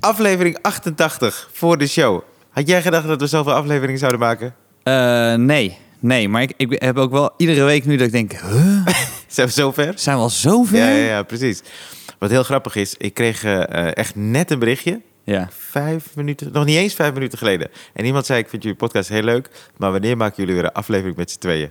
aflevering 88 voor de show. Had jij gedacht dat we zoveel afleveringen zouden maken? Eh, nee, nee. Maar ik, ik heb ook wel iedere week nu dat ik denk, huh? Zijn we zover? zijn we al zover? Ja, ja, ja, precies. Wat heel grappig is, ik kreeg eh, eh, echt net een berichtje. Ja. Vijf minuten, nog niet eens vijf minuten geleden. En iemand zei, ik vind jullie podcast heel leuk, maar wanneer maken jullie weer een aflevering met z'n tweeën?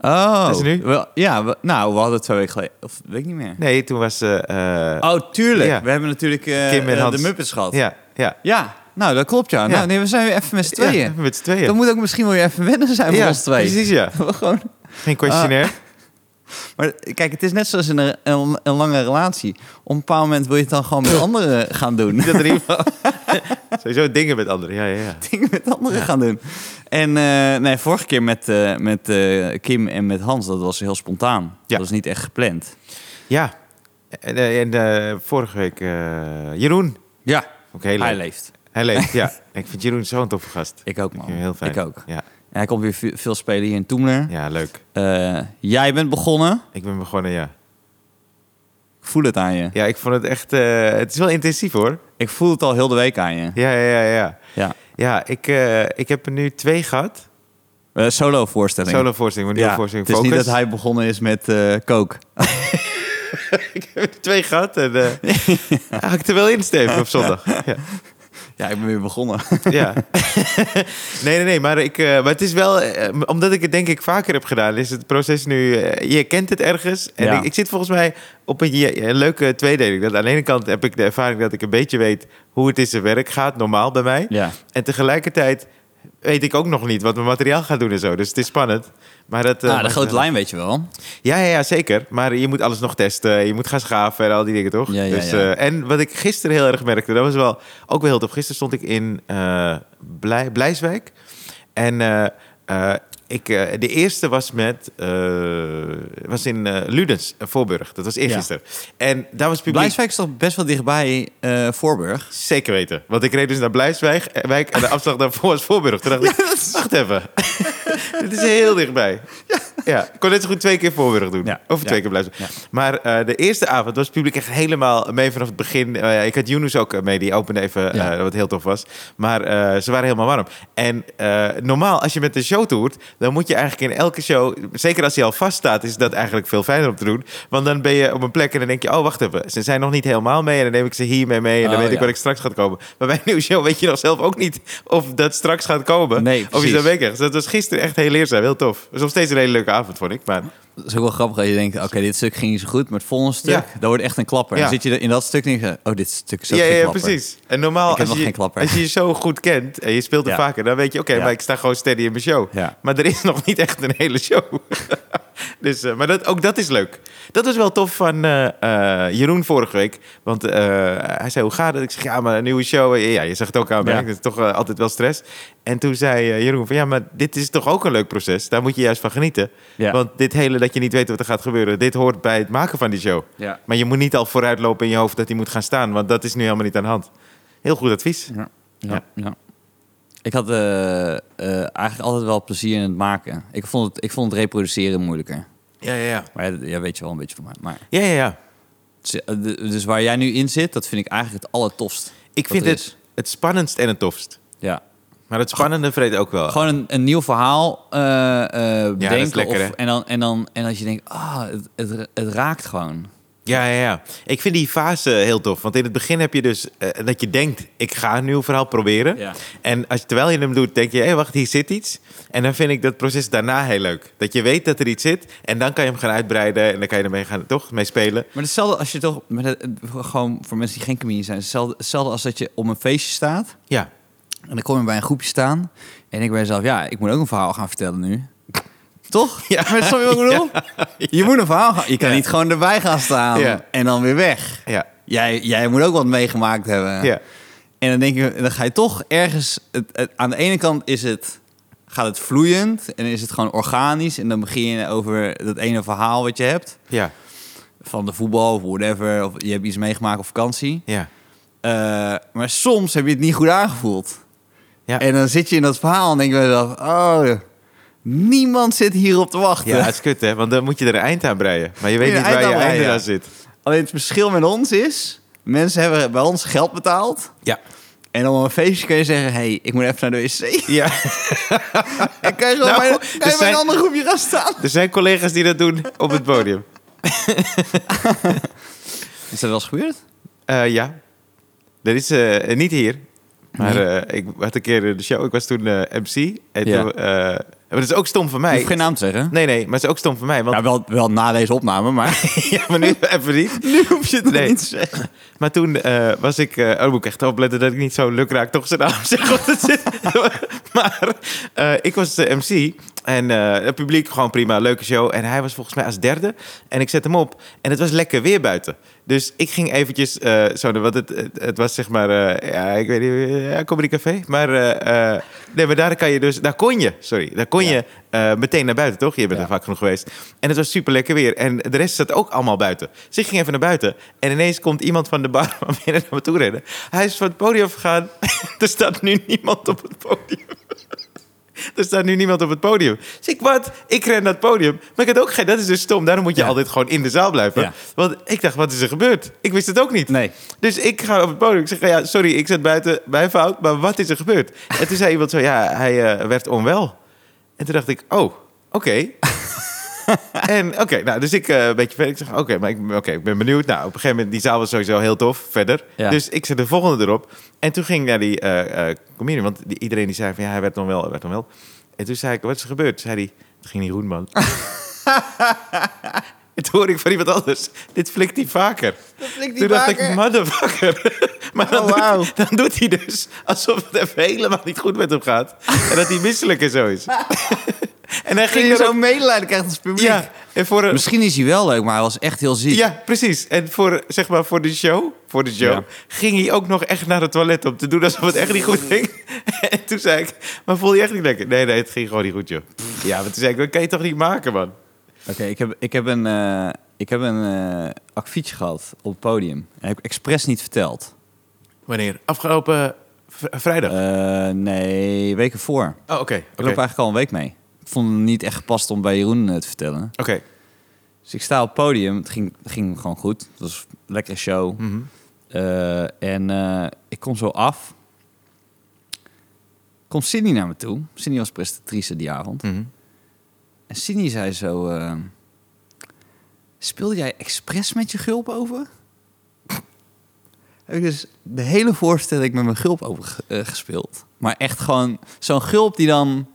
Oh. Is het nu? Wel, ja, we- nou, we hadden het twee weken geleden. Of weet ik niet meer. Nee, toen was eh, eh, Oh, tuurlijk. Ja. We hebben natuurlijk eh, Kim en eh, Hans. de Muppets gehad. Ja. Ja, ja. nou, dat klopt ja. Nou, nee, we zijn weer even met z'n tweeën. Ja, met z'n tweeën. Dan moet ook misschien wel weer even wennen zijn voor ja, ons twee. precies, ja. We gewoon... Ah. Geen questionnaire. Maar kijk, het is net zoals in een, een, een lange relatie. Op een bepaald moment wil je het dan gewoon met anderen gaan doen. Niet dat er iemand... Sowieso dingen met anderen, ja, ja, ja. dingen met anderen gaan doen. En eh, nee, vorige keer met, eh, met eh, Kim en met Hans, dat was heel spontaan. Dat was niet echt gepland. Ja, en, eh, en eh, vorige week eh, Jeroen. Ja, Ook heel leuk. hij leeft. Hij leeft, ja. Ik vind Jeroen zo'n toffe gast. Ik ook, Ik man. vind hem heel fijn. Ik ook. Ja, En hij komt weer ve- veel spelen hier in Toemler. ja, leuk. Eh, jij bent begonnen. Ik ben begonnen, ja. Ik voel het aan je. Ja, ik vond het echt... eh, het is wel intensief, hoor. Ik voel het al heel de week aan je. Ja, ja, ja. Ja, Ja. ja ik, eh, ik heb er nu twee gehad. Eh, solo voorstelling. Solo voorstelling, maar nieuwe ja. voorstelling Het is niet Focus. dat hij begonnen is met eh coke. ik heb er twee gehad en eh haak ik er wel in, Steven, op zondag. Ja. Ja, ik ben weer begonnen. Ja. nee, nee, nee. Maar, ik, eh, maar het is wel... eh, omdat ik het denk ik vaker heb gedaan, is het proces nu... eh, je kent het ergens. En Ja. ik, ik zit volgens mij op een, je- een leuke tweedeling. Dat aan de ene kant heb ik de ervaring dat ik een beetje weet... hoe het in zijn werk gaat, normaal bij mij. ja. En tegelijkertijd weet ik ook nog niet wat mijn materiaal gaat doen en zo. Dus het is spannend. Maar dat, eh, Ah, de maakt- grote lijn weet je wel. Ja, ja, ja, zeker. Maar je moet alles nog testen. Je moet gaan schaven en al die dingen, toch? Ja, ja, dus, ja. eh, en wat ik gisteren heel erg merkte, dat was wel ook wel heel tof. Gisteren stond ik in eh Blij, Blijswijk. En eh, eh, ik, eh, de eerste was met... eh, was in eh, Ludens, eh, Voorburg. Dat was eergisteren. En daar was publiek... Blijswijk is toch best wel dichtbij eh, Voorburg? Zeker weten. Want ik reed dus naar Blijswijk eh, wijk, en de afslag daarvoor was Voorburg. Toen dacht ik, wacht even. Dit is heel dichtbij. Ja, ik kon net zo goed twee keer Voorburg doen. Ja. Of Ja. twee keer Blijswijk. Maar eh, de eerste avond was het publiek echt helemaal mee vanaf het begin. Eh, ik had Yunus ook eh, mee, die opende even, Ja. eh, wat heel tof was. Maar eh, ze waren helemaal warm. En eh, normaal, als je met de show toert, dan moet je eigenlijk in elke show... Zeker als die al vaststaat, is dat eigenlijk veel fijner om te doen. Want dan ben je op een plek en dan denk je, oh, wacht even. Ze zijn nog niet helemaal mee en dan neem ik ze hiermee mee. En dan Oh, weet ik ja. wat ik straks gaat komen. Maar bij een nieuwe show weet je nog zelf ook niet of dat straks gaat komen. Nee, of je precies. dat weet. Dus dat was gisteren echt heel leerzaam, heel tof. Het was nog steeds een hele leuke avond, vond ik. Maar Het is ook wel grappig dat je denkt, oké, dit stuk ging niet zo goed, maar het volgende stuk, Ja. dat wordt echt een klapper. Ja. Dan zit je in dat stuk en denk je, oh, dit stuk is ook ja, geen ja, klapper. precies. En normaal, Ik heb als nog geen je, klapper. als je je zo goed kent en je speelt het Ja. vaker, dan weet je, oké, Ja. maar ik sta gewoon steady in mijn show. Ja. Maar er is nog niet echt een hele show. dus, eh, maar dat, ook dat is leuk. Dat was wel tof van eh, eh, Jeroen vorige week. Want eh, hij zei, hoe gaat het? Ik zeg, ja, maar een nieuwe show. Ja, je zegt het ook aan mij, Ja. dat is toch eh, altijd wel stress. En toen zei eh, Jeroen van, ja, maar dit is toch ook een leuk proces. Daar moet je juist van genieten. Ja. Want dit hele dat je niet weet wat er gaat gebeuren, dit hoort bij het maken van die show. Ja. Maar je moet niet al vooruitlopen in je hoofd dat hij moet gaan staan, want dat is nu helemaal niet aan de hand. Heel goed advies. Ja, Ja. ja, ja. Ik had eh, eh, eigenlijk altijd wel plezier in het maken. Ik vond het, ik vond het reproduceren moeilijker. Ja, ja, ja. Maar ja, dat- ja, weet je wel een beetje van mij. Maar, Ja, ja, ja. het is- eh, de- dus waar jij nu in zit, dat vind ik eigenlijk het allertofst. Ik wat vind er het is. het spannendst en het tofst. Ja. Maar het spannende vreet ook wel. Gewoon een, een nieuw verhaal eh eh, bedenken. lekker, of- hè? en, dan, en, dan, en als je denkt, ah, het, het, het raakt gewoon. Ja, ja, ja. Ik vind die fase heel tof. Want in het begin heb je dus eh, dat je denkt, ik ga een nieuw verhaal proberen. Ja. En als, terwijl je hem doet, denk je, hé, wacht, hier zit iets. En dan vind ik dat proces daarna heel leuk. Dat je weet dat er iets zit. En dan kan je hem gaan uitbreiden. En dan kan je ermee gaan, toch, mee spelen. Maar hetzelfde als je toch met het, gewoon voor mensen die geen comedian zijn, hetzelfde, hetzelfde als dat je op een feestje staat Ja. en dan kom je bij een groepje staan en ik denk bij mezelf, ja, ik moet ook een verhaal gaan vertellen nu. Toch? Ja. Maar snap je wat ik bedoel? Je moet een verhaal gaan. Je kan Ja. niet gewoon erbij gaan staan Ja. en dan weer weg. Ja. Jij, jij moet ook wat meegemaakt hebben. Ja. En dan denk je, dan ga je toch ergens. Het, het- aan de ene kant is het, gaat het vloeiend en is het gewoon organisch. En dan begin je over dat ene verhaal wat je hebt Ja. van de voetbal of whatever. Of je hebt iets meegemaakt op vakantie. Ja. Eh, maar soms heb je het niet goed aangevoeld. Ja. En dan zit je in dat verhaal en denk je bij jezelf... Oh, niemand zit hierop te wachten. Ja, het is kut, hè? Want dan moet je er een eind aan breien. Maar je weet Moet je niet een waar eind je aan breien, einde ja. aan zit. Alleen het verschil met ons is... Mensen hebben bij ons geld betaald. Ja. En om een feestje kun je zeggen... hey, ik moet even naar de wc. ja. En kan je gewoon Nou, bij, er kan je bij zijn- een ander groepje gaan staan. Er zijn collega's die dat doen op het podium. Is dat wel eens gebeurd? Eh, ja. Dat is eh, niet hier. Maar eh, ik had een keer de show. Ik was toen eh, MC. En Ja. toen, eh, maar dat is ook stom van Ik mij. hoef geen naam te zeggen. Nee, nee. Maar het is ook stom van mij. Want Ja, Nou, wel, wel na deze opname, maar... ja, maar nu even niet. nu hoef je het Nee. niet te zeggen. Maar toen eh, was ik... eh oh, moet ik echt opletten dat ik niet zo lukraak toch zijn naam zeg. Want het zit, maar eh, ik was de MC. En eh, het publiek gewoon prima. Leuke show. En hij was volgens mij als derde. En ik zet hem op. En het was lekker weer buiten. Dus ik ging eventjes... eh zo, want het, het, het was zeg maar... eh, ja, ik weet niet... eh, Ja, Comedy Café. Maar, eh, eh, nee, maar daar kan je dus... Daar kon je, sorry. Daar kon Ja. je eh, meteen naar buiten, toch? Je bent Ja. er vaak genoeg geweest. En het was super lekker weer. En de rest zat ook allemaal buiten. Dus ik ging even naar buiten. En ineens komt iemand van de bar van binnen naar me toe rennen. Hij is van het podium gegaan. er staat nu niemand op het podium. Er staat nu niemand op het podium. Dus ik, wat? Ik ren naar het podium. Maar ik had ook geen... Dat is dus stom. Daarom moet je Ja. altijd gewoon in de zaal blijven. Ja. Want ik dacht, wat is er gebeurd? Ik wist het ook niet. Nee. Dus ik ga op het podium. Ik zeg, ja, sorry, ik zat buiten. Mijn fout. Maar wat is er gebeurd? En toen zei iemand zo, ja, hij eh, werd onwel. En toen dacht ik, oh, oké. en oké, nou, dus ik eh, een beetje verder. Ik zeg, oké, maar ik, oké, ik ben benieuwd. Nou, op een gegeven moment, die zaal was sowieso heel tof, verder. Ja. Dus ik zet de volgende erop. En toen ging ik naar die eh eh, comedian, want die, iedereen die zei van, ja, hij werd onwel, hij werd onwel. En toen zei ik, wat is er gebeurd? Toen zei hij, het ging niet goed, man. En toen hoorde ik van iemand anders, dit flikt hij vaker. Toen dacht ik, motherfucker. Maar dan, Oh, wauw. doet, dan doet hij dus alsof het even helemaal niet goed met hem gaat. En dat hij misselijk en zo is. en hij ging je ging zo zo... medelijden krijgt als publiek. Ja, en voor een, Misschien is hij wel leuk, maar hij was echt heel ziek. ja, precies. En voor, zeg maar, voor de show, voor de show Ja. ging hij ook nog echt naar het toilet om te doen alsof het echt niet goed ging. en toen zei ik, maar voel je echt niet lekker? Nee, nee, het ging gewoon niet goed, joh. Ja, maar toen zei ik, dat kan je toch niet maken, man? Oké, ik, heb, ik heb een, eh ik heb een eh, akkefietje gehad op het podium. En dat heb ik expres niet verteld. Wanneer? Afgelopen v- vrijdag? Eh, nee, weken voor. Ik oh, oké. loop Oké. eigenlijk al een week mee. Ik vond het niet echt gepast om bij Jeroen eh, te vertellen. Oké. Dus ik sta op het podium. Het ging, het ging gewoon goed. Het was een lekkere show. Mhm. Eh, en eh, ik kom zo af. Komt Sydney naar me toe. Sydney was presentatrice die avond. Mhm. En Sydney zei zo... eh, Speelde jij expres met je gulp over? Heb ik dus de hele voorstelling met mijn gulp over ge- eh, gespeeld. Maar echt gewoon zo'n gulp die dan...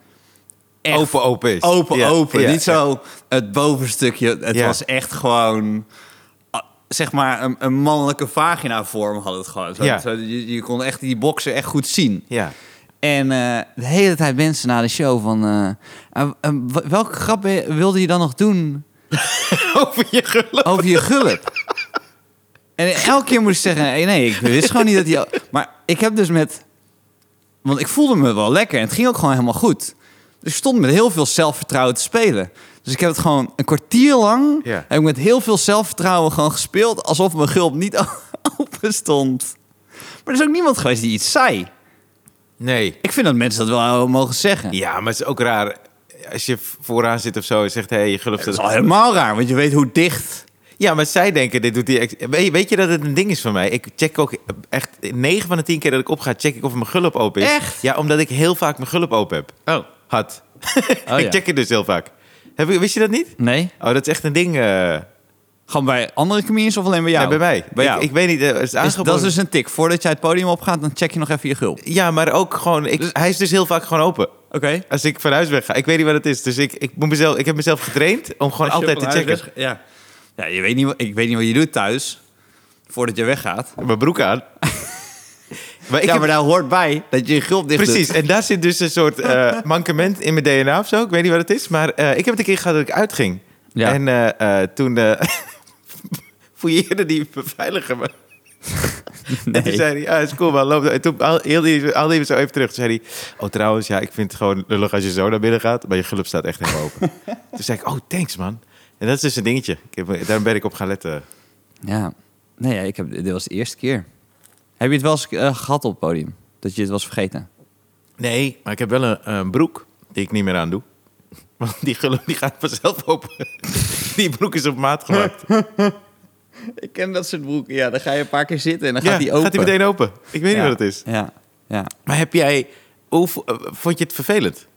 echt Open, open is. Open, Ja, open. ja, Niet ja. zo het bovenstukje. Het Ja. was echt gewoon... ah, Zeg maar een, een mannelijke vagina vorm had het gewoon. Zo, Ja. zo, je, je kon echt die boksen echt goed zien. Ja. En eh, de hele tijd mensen na de show van... eh, "Ah, eh, w- welke grap wi- wilde je dan nog doen Over je geloof. over je gulp? en elke keer moest ik zeggen... "Eh, Nee, ik wist gewoon niet dat die... Maar ik heb dus met... Want ik voelde me wel lekker en het ging ook gewoon helemaal goed. Dus ik stond met heel veel zelfvertrouwen te spelen. Dus ik heb het gewoon een kwartier lang... Ja. heb ik met heel veel zelfvertrouwen gewoon gespeeld... alsof mijn gulp niet open stond. Maar er is ook niemand geweest die iets zei. Nee. Ik vind dat mensen dat wel mogen zeggen. Ja, maar het is ook raar als je vooraan zit of zo en zegt: hé, hey, je gelooft Dat is dat. al helemaal raar, want je weet hoe dicht. Ja, maar zij denken: dit doet hij. ex- Weet, weet je dat het een ding is van mij? Ik check ook echt 9 van de 10 keer dat ik opga, check ik of mijn gulp open is. Echt? Ja, omdat ik heel vaak mijn gulp open heb. Oh. Had. ja. ik check het dus heel vaak. Heb, je- wist je dat niet? Nee? Oh, dat is echt een ding eh, Gewoon bij andere comedians of alleen bij jou? bij mij. Bij jou. Ik, ik weet niet. eh, het is Is- dat aangeboden. is dus een tik. Voordat jij het podium opgaat, dan check je nog even je gulp. Ja, maar ook gewoon. Ik, Dus- Hij is dus heel vaak gewoon open. Oké. Als ik van huis weg ga. Ik weet niet wat het is. Dus ik, ik, moet mezelf, ik heb mezelf getraind om gewoon altijd te checken. Ja. ja je weet niet, wat- ik weet niet wat je doet thuis, voordat je weggaat. mijn broek aan. maar ik ja, heb, maar daar hoort bij dat je je gulp dicht doet. precies, en daar zit dus een soort eh, mankement in mijn DNA of zo. Ik weet niet wat het is, maar eh, ik heb het een keer gehad dat ik uitging. Ja. En eh, eh, toen eh fouilleerde die beveiliger me. En toen Nee. zei hij, ah, is cool man, loop. En toen haal- hielde hij haalde hij me zo even terug. Toen zei hij, oh trouwens, ja, ik vind het gewoon lullig als je zo naar binnen gaat. Maar je gulp staat echt helemaal open. toen zei ik, oh thanks man. En dat is dus een dingetje. Ik heb, daarom ben ik op gaan letten. Ja. Nee, ja, ik heb, dit was de eerste keer. Heb je het wel eens eh, gehad op het podium? Dat je het was vergeten? Nee, maar ik heb wel een, een broek die ik niet meer aan doe. Want die gulp die gaat vanzelf open. Die broek is op maat gemaakt. Ik ken dat soort broeken. Ja, dan ga je een paar keer zitten en dan Ja, gaat die open. gaat die meteen open. Ik weet Ja, niet wat het is. Ja, ja. Maar heb jij... Hoe, vo- eh, vond je het vervelend?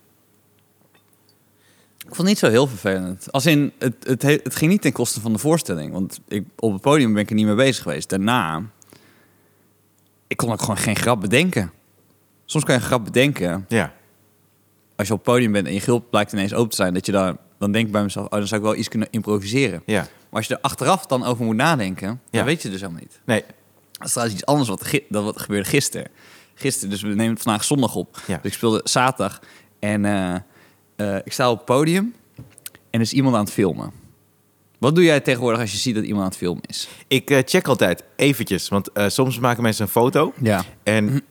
Ik vond het niet zo heel vervelend. Als in, het, het, he- het ging niet ten koste van de voorstelling. Want ik, op het podium ben ik er niet mee bezig geweest. Daarna, ik kon ook gewoon geen grap bedenken. Soms kan je een grap bedenken. Ja. Als je op het podium bent en je gulp blijkt ineens open te zijn. Dat je daar, dan denk ik bij mezelf, oh, dan zou ik wel iets kunnen improviseren. Ja. Maar als je er achteraf dan over moet nadenken, Ja. dan weet je dus helemaal niet. Nee. Dat is trouwens iets anders wat gi- dan wat gebeurde gisteren. Gisteren, dus we nemen het vandaag zondag op. Ja. Dus ik speelde zaterdag. En eh, eh, ik sta op het podium en er is iemand aan het filmen. Wat doe jij tegenwoordig als je ziet dat iemand aan het filmen is? Ik eh, check altijd eventjes. Want eh, soms maken mensen een foto. Ja. En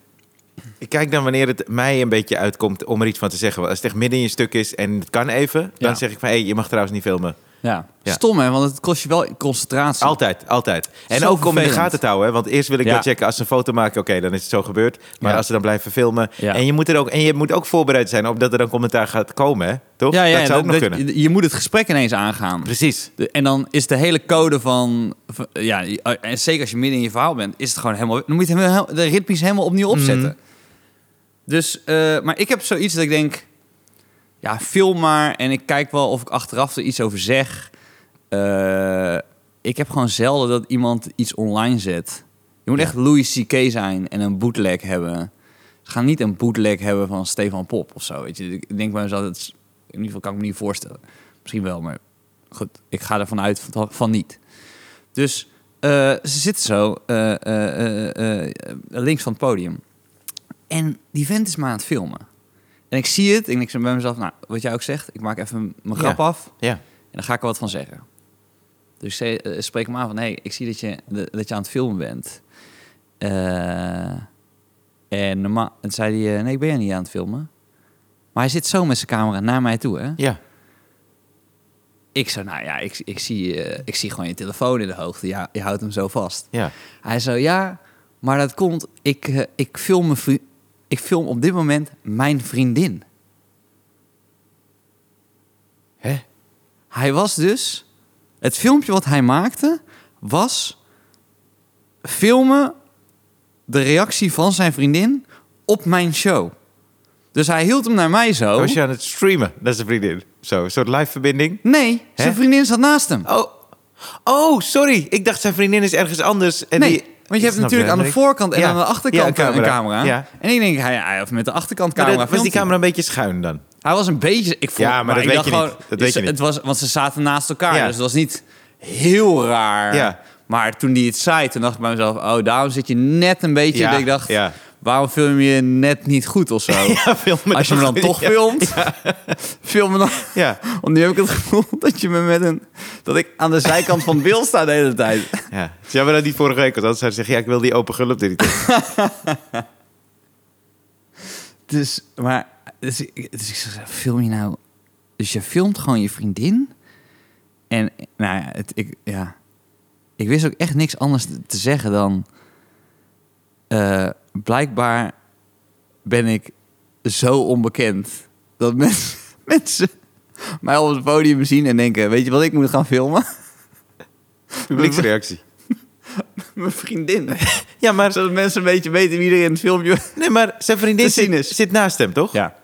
ik kijk dan wanneer het mij een beetje uitkomt om er iets van te zeggen. Want als het echt midden in je stuk is en het kan even, dan Ja. zeg ik van hé, je mag trouwens niet filmen. ja. Ja. Stom hè, want het kost je wel concentratie. Altijd, altijd. En Zo ook om in de vervelend. gaten te houden. Hè? Want eerst wil ik Ja. wel checken als ze een foto maken, oké, dan is het zo gebeurd. Maar Ja. als ze dan blijven filmen. Ja. En, je moet er ook, en je moet ook voorbereid zijn op dat er dan commentaar gaat komen, hè? toch? Ja, ja, dat zou ook nog kunnen. Je, je moet het gesprek ineens aangaan. Precies. De- en dan is de hele code van, van- ja, je- eh, en zeker als je midden in je verhaal bent, is het gewoon helemaal, dan moet je het helemaal, de ritmisch helemaal opnieuw opzetten. Mhm. Dus, eh, maar ik heb zoiets dat ik denk, ja, film maar en ik kijk wel of ik achteraf er iets over zeg. Eh, ik heb gewoon zelden dat iemand iets online zet. Je moet Ja. echt Louis C.K. zijn en een bootleg hebben. Ze gaan niet een bootleg hebben van Stefan Pop of zo. Weet je. Ik denk bij mezelf, dat is, in ieder geval kan ik me niet voorstellen. Misschien wel, maar goed, ik ga ervan uit van, van niet. Dus eh, ze zitten zo eh, eh, eh, eh, links van het podium. En die vent is maar aan het filmen. En ik zie het en ik zeg bij mezelf, nou, wat jij ook zegt, ik maak even mijn grap Ja. af. Ja. En dan ga ik er wat van zeggen. Dus ik zei- eh, spreek hem aan van... hé, hey, ik zie dat je, de- dat je aan het filmen bent. Eh, en, normaal, en zei hij... eh, nee, ik ben er niet aan het filmen. Maar hij zit zo met zijn camera naar mij toe, hè? Ja. Ik zei, nou ja, ik, ik, zie, eh, ik zie gewoon je telefoon in de hoogte. Ja, je houdt hem zo vast. Ja. Hij zei, ja, maar dat komt... Ik, eh, ik, film mijn vri- ik film op dit moment mijn vriendin. Hè? Hij was dus... Het filmpje wat hij maakte was filmen de reactie van zijn vriendin op mijn show. Dus hij hield hem naar mij zo. Was je aan het streamen? Dat is een vriendin. Zo, een soort live verbinding. Nee, zijn Hè? vriendin zat naast hem. Oh. oh, sorry. Ik dacht zijn vriendin is ergens anders. En nee, die... want je hebt Snap natuurlijk aan de Henrik? voorkant en Ja. aan de achterkant Ja, een camera. Ja. En ik denk, hij, hij heeft met de achterkant Maar camera dat- was die filmt hij. camera een beetje schuin dan? Hij was een beetje... Ik vond, Ja, maar dat ik weet dacht je gewoon, niet. Dat weet je het- niet. Het was, want ze zaten naast elkaar, Ja. dus het was niet heel raar. Ja. Maar toen hij het zei, toen dacht ik bij mezelf... Oh, daarom zit je net een beetje... Ja, dat ik dacht, ja. waarom film je net niet goed of zo? Ja, film me Als je me dan goed. toch Ja. filmt, film me dan... Ja. Want nu heb ik het gevoel dat je me met een... Dat ik aan de zijkant van het beeld sta de hele tijd. Ja. Het is jammer dat die vorige week was. Anders zou hij zeggen, ja, ik wil die open gulp. Dit Dus, maar, dus, ik- dus ik zeg, film je nou... Dus je filmt gewoon je vriendin? En, nou ja, het, ik, ja. Ik wist ook echt niks anders te- te zeggen dan... eh, blijkbaar ben ik zo onbekend dat mensen, mensen mij op het podium zien en denken... Weet je wat, ik moet gaan filmen? Publieksreactie. Mijn vriendin. Ja, maar, Zodat mensen een beetje weten wie er in het filmpje... nee, maar zijn vriendin Te zien zit, is. zit naast hem, toch? Ja.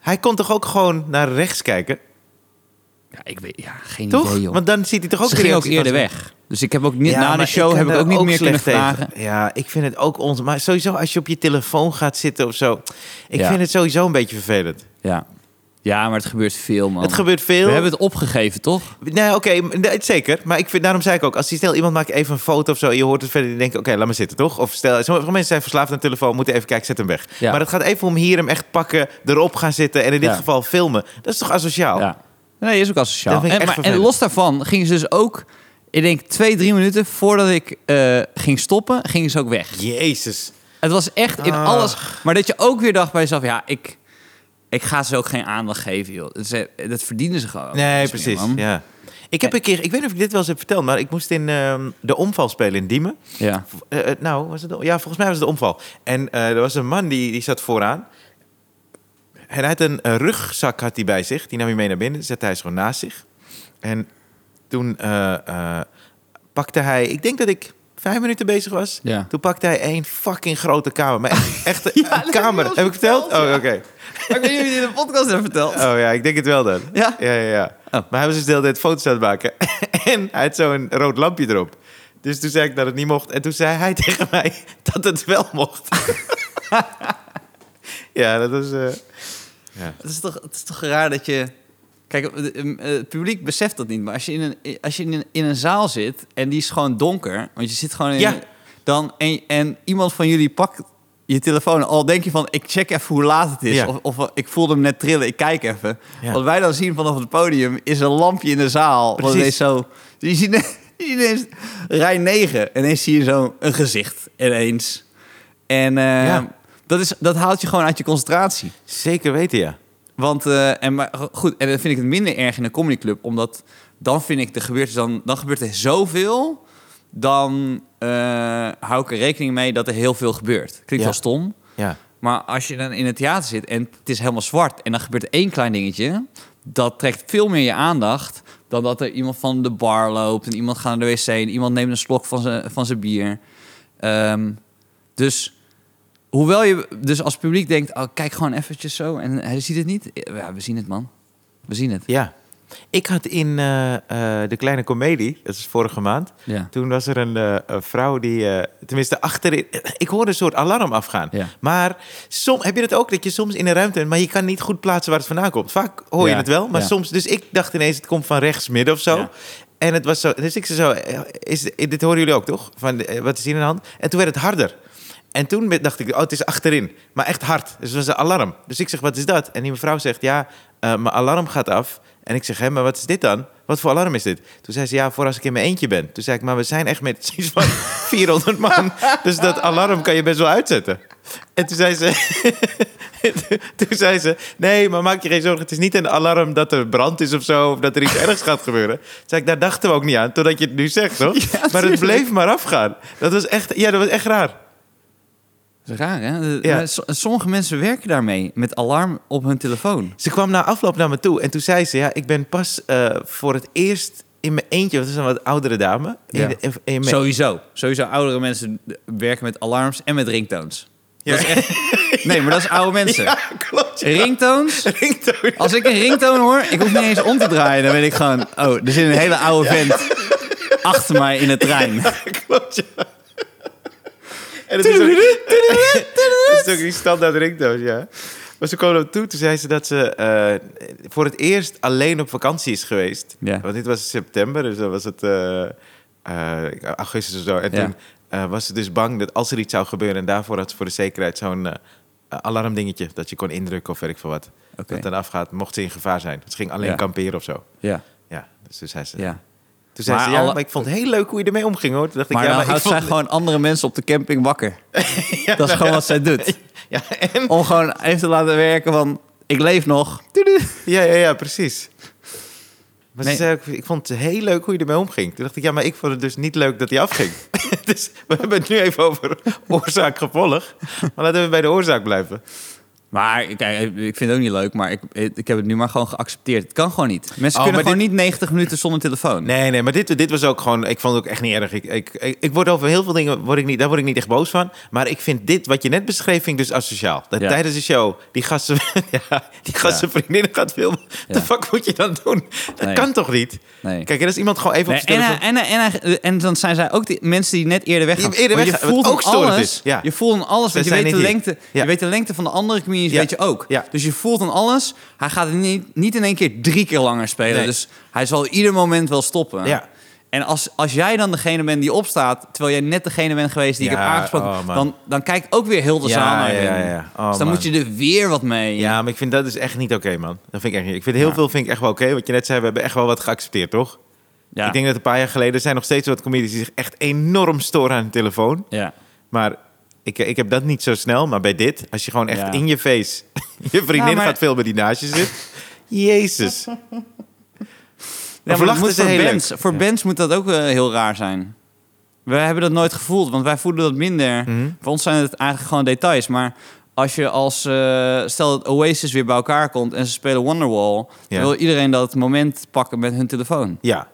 Hij kon toch ook gewoon naar rechts kijken? Ja, ik weet... Ja, geen Toch? idee, joh. Want dan ziet hij toch ook ze de ging ook reactie eerder van- weg. Dus ik heb ook niet, Ja, na de maar show heb kan ik daar ook niet meer kunnen slecht tegen. vragen. Ja, ik vind het ook ons. Maar sowieso als je op je telefoon gaat zitten of zo. Ik Ja. vind het sowieso een beetje vervelend. Ja. ja, maar het gebeurt veel, man. Het gebeurt veel. We hebben het opgegeven, toch? Nee, oké, m- nee, zeker. Maar ik vind, daarom zei ik ook, als je stel iemand maakt even een foto of zo, en je hoort het verder, die denken, oké, laat maar zitten, toch? Of stel, sommige mensen zijn verslaafd aan de telefoon, moeten even kijken, zet hem weg. Ja. Maar het gaat even om hier hem echt pakken, erop gaan zitten en in dit Ja. geval filmen. Dat is toch asociaal? Ja. Nee, is ook asociaal. Dat vind ik En, echt maar, en vervelend. los daarvan gingen ze dus ook, ik denk twee, drie minuten voordat ik eh, ging stoppen, gingen ze ook weg. Jezus. Het was echt in Ah. alles. Maar dat je ook weer dacht bij jezelf, ja, ik, ik ga ze ook geen aandacht geven, joh. Dat, ze- dat verdienen ze gewoon. Nee, Dus, precies. man. Ja. Ik heb een keer, ik weet niet of ik dit wel eens heb verteld, maar ik moest in ehm, de omval spelen in Diemen. Ja. Eh, eh, nou, was het de- ja, volgens mij was het de omval. En eh, er was een man die, die zat vooraan. En hij had een, een rugzak had hij bij zich. Die nam hij mee naar binnen. Zette hij zo naast zich. En toen eh, eh, pakte hij... Ik denk dat ik vijf minuten bezig was. Ja. Toen pakte hij één fucking grote kamer. Maar echt, echt een- Ja, dat een heb je kamer. ons Heb ik verteld? verteld, Oh, ja. oké. Maar ik weet niet of je dit in de podcast hebt verteld. Oh ja, ik denk het wel dan. Ja? Ja, ja, ja. Oh. Maar hij was dus de hele tijd foto's aan het maken. en hij had zo'n rood lampje erop. Dus toen zei ik dat het niet mocht. En toen zei hij tegen mij dat het wel mocht. ja, dat was... eh, ja. Het is, toch, het is toch raar dat je... Kijk, eh, eh, het publiek beseft dat niet. Maar als je in een, als je in een, in een zaal zit en die is gewoon donker... Want je zit gewoon in... Ja. Dan, en, en iemand van jullie pakt je telefoon. Al denk je van, ik check even hoe laat het is. Ja. Of, of eh, ik voelde hem net trillen, ik kijk even. Ja. Wat wij dan zien vanaf het podium is een lampje in de zaal. Wat Precies. ineens zo... Je ziet, ineens- je ziet ineens rij 9. En ineens zie je zo een gezicht ineens. En eh, Ja. dat, is, dat haalt je gewoon uit je concentratie. Zeker weten, ja. Want, eh, en, maar goed, en dan vind ik het minder erg in een comedyclub. Omdat dan vind ik, er gebeurt, dan, dan gebeurt er zoveel. Dan eh, hou ik er rekening mee dat er heel veel gebeurt. Klinkt Ja. wel stom. Ja, Maar als je dan in het theater zit en het is helemaal zwart... en dan gebeurt er één klein dingetje... dat trekt veel meer je aandacht... dan dat er iemand van de bar loopt... en iemand gaat naar de wc... en iemand neemt een slok van zijn van zijn bier. Ehm, dus... Hoewel je dus als publiek denkt... Oh, kijk gewoon eventjes zo en hij ziet het niet. Ja, we zien het, man. We zien het. ja. Ik had in eh, eh, De Kleine Comedie, dat is vorige maand... Ja. Toen was er een, eh, een vrouw die, eh, tenminste achterin... Ik hoorde een soort alarm afgaan. Ja. Maar som, heb je dat ook, dat je soms in een ruimte... bent, maar je kan niet goed plaatsen waar het vandaan komt? Vaak hoor je Ja, het wel, maar ja. soms... Dus ik dacht ineens, het komt van rechts, midden of zo. Ja. En het was zo... Dus ik zei zo, eh, is, dit horen jullie ook, toch? Van, eh, wat is hier aan de hand? En toen werd het harder. En toen be- dacht ik, oh, het is achterin. Maar echt hard. Dus het was een alarm. Dus ik zeg, wat is dat? En die mevrouw zegt, ja, eh, mijn alarm gaat af. En ik zeg, hé, maar wat is dit dan? Wat voor alarm is dit? Toen zei ze, ja, voor als ik in mijn eentje ben. Toen zei ik, maar we zijn echt met iets van 400 man. Dus dat alarm kan je best wel uitzetten. En toen zei ze... Toen zei ze, nee, maar maak je geen zorgen. Het is niet een alarm dat er brand is of zo. Of dat er iets ergs gaat gebeuren. Toen zei ik, daar dachten we ook niet aan. Totdat je het nu zegt, toch? maar het tuurlijk. bleef maar afgaan. Dat was echt, ja, dat was echt raar. Dat is raar, hè? Ja. Maar so- Sommige mensen werken daarmee. Met alarm op hun telefoon. Ze kwam na afloop naar me toe en toen zei ze: Ja, ik ben pas eh, voor het eerst in mijn eentje, want het is een wat oudere dame. Ja. In, in, in mijn- Sowieso. Sowieso oudere mensen werken met alarms en met ringtones. Ja. Dat is echt... Nee, maar dat is oude mensen. Ja, klopt. Ja. Ringtones? Ringtoon. Als ik een ringtoon hoor, ik hoef niet eens om te draaien. Dan weet ik gewoon, oh, er zit een hele oude vent achter mij in de trein. klopt, ja. En het is, ook, het is ook die standaard ringtoon, ja. Maar ze kwam naar me toe, toen zei ze dat ze eh, voor het eerst alleen op vakantie is geweest. Ja. Want dit was in september, dus dan was het eh, eh, augustus of zo. En Ja. toen eh, was ze dus bang dat als er iets zou gebeuren... en daarvoor had ze voor de zekerheid zo'n eh, alarmdingetje... dat je kon indrukken of weet ik veel wat. Dat Oké. het dan afgaat, mocht ze in gevaar zijn. Ze ging alleen Ja. kamperen of zo. Ja, Ja, dus toen zei ze... ja. Toen zei Maar ze, ja, alle- maar ik vond het heel leuk hoe je ermee omging, hoor. Toen dacht Maar ik, ja, dan maar ik houdt zij vond... gewoon andere mensen op de camping wakker. Dat is gewoon wat zij doet. Ja, en... Om gewoon even te laten werken van, ik leef nog. Ja, ja, ja, precies. Maar Nee. ze zei ook, ik vond het heel leuk hoe je ermee omging. Toen dacht ik, ja, maar ik vond het dus niet leuk dat hij afging. dus we hebben het nu even over oorzaak-gevolg. Maar laten we bij de oorzaak blijven. Maar kijk, ik vind het ook niet leuk, maar ik, ik heb het nu maar gewoon geaccepteerd. Het kan gewoon niet. Mensen Oh, kunnen maar gewoon niet 90 minuten zonder telefoon. Nee, nee, maar dit, dit was ook gewoon... Ik vond het ook echt niet erg. Ik, ik, ik, ik word over heel veel dingen... Word ik niet, daar word ik niet echt boos van. Maar ik vind dit, wat je net beschreef, vind ik dus asociaal. Dat Ja. tijdens de show die gasten... Ja, die gasten vriendinnen gaat filmen. Wat Ja. de fuck moet je dan doen? Dat Nee. kan toch niet? Nee. Kijk, en als iemand gewoon even Nee, op zijn en, hij- telefoon- en, hij- en, hij- eh, en dan zijn zij ook die mensen die net eerder weggaan. Die eerder Want weggaan, je voelt wat ook ook storend alles. is, ja. Je voelt aan alles, want je zijn weet, de niet hier. lengte, Ja. je weet de lengte van de andere comedians Ja. weet je ook. Ja. Dus je voelt aan alles. Hij gaat het niet, niet in één keer drie keer langer spelen. Nee. Dus hij zal ieder moment wel stoppen. Ja. En als, als jij dan degene bent die opstaat, terwijl jij net degene bent geweest die ik Ja, heb aangesproken, oh, man. dan, dan kijkt ook weer heel de Ja, zaal naar ja, je. ja, ja. Oh, dus dan man. moet je er weer wat mee. Ja, maar ik vind dat is echt niet oké, man. Dat vind ik echt niet. Ik vind heel eh, Ja. veel vind ik echt wel oké. Wat je net zei, we hebben echt wel wat geaccepteerd, toch? Ja. Ik denk dat een paar jaar geleden zijn nog steeds wat comedians die zich echt enorm storen aan hun telefoon. ja. Maar ik, ik heb dat niet zo snel. Maar bij dit, als je gewoon echt Ja. in je face je vriendin Ja, maar- gaat filmen die naast je zit. Jezus. Ja, Of maar dat lachen moet ze voor heel bands, leuk. voor Ja. bands moet dat ook eh, heel raar zijn. We hebben dat nooit gevoeld, want wij voelen dat minder. Mhm. Voor ons zijn het eigenlijk gewoon details. Maar als je als... eh, stel dat Oasis weer bij elkaar komt en ze spelen Wonderwall... Ja. dan wil iedereen dat moment pakken met hun telefoon. Ja.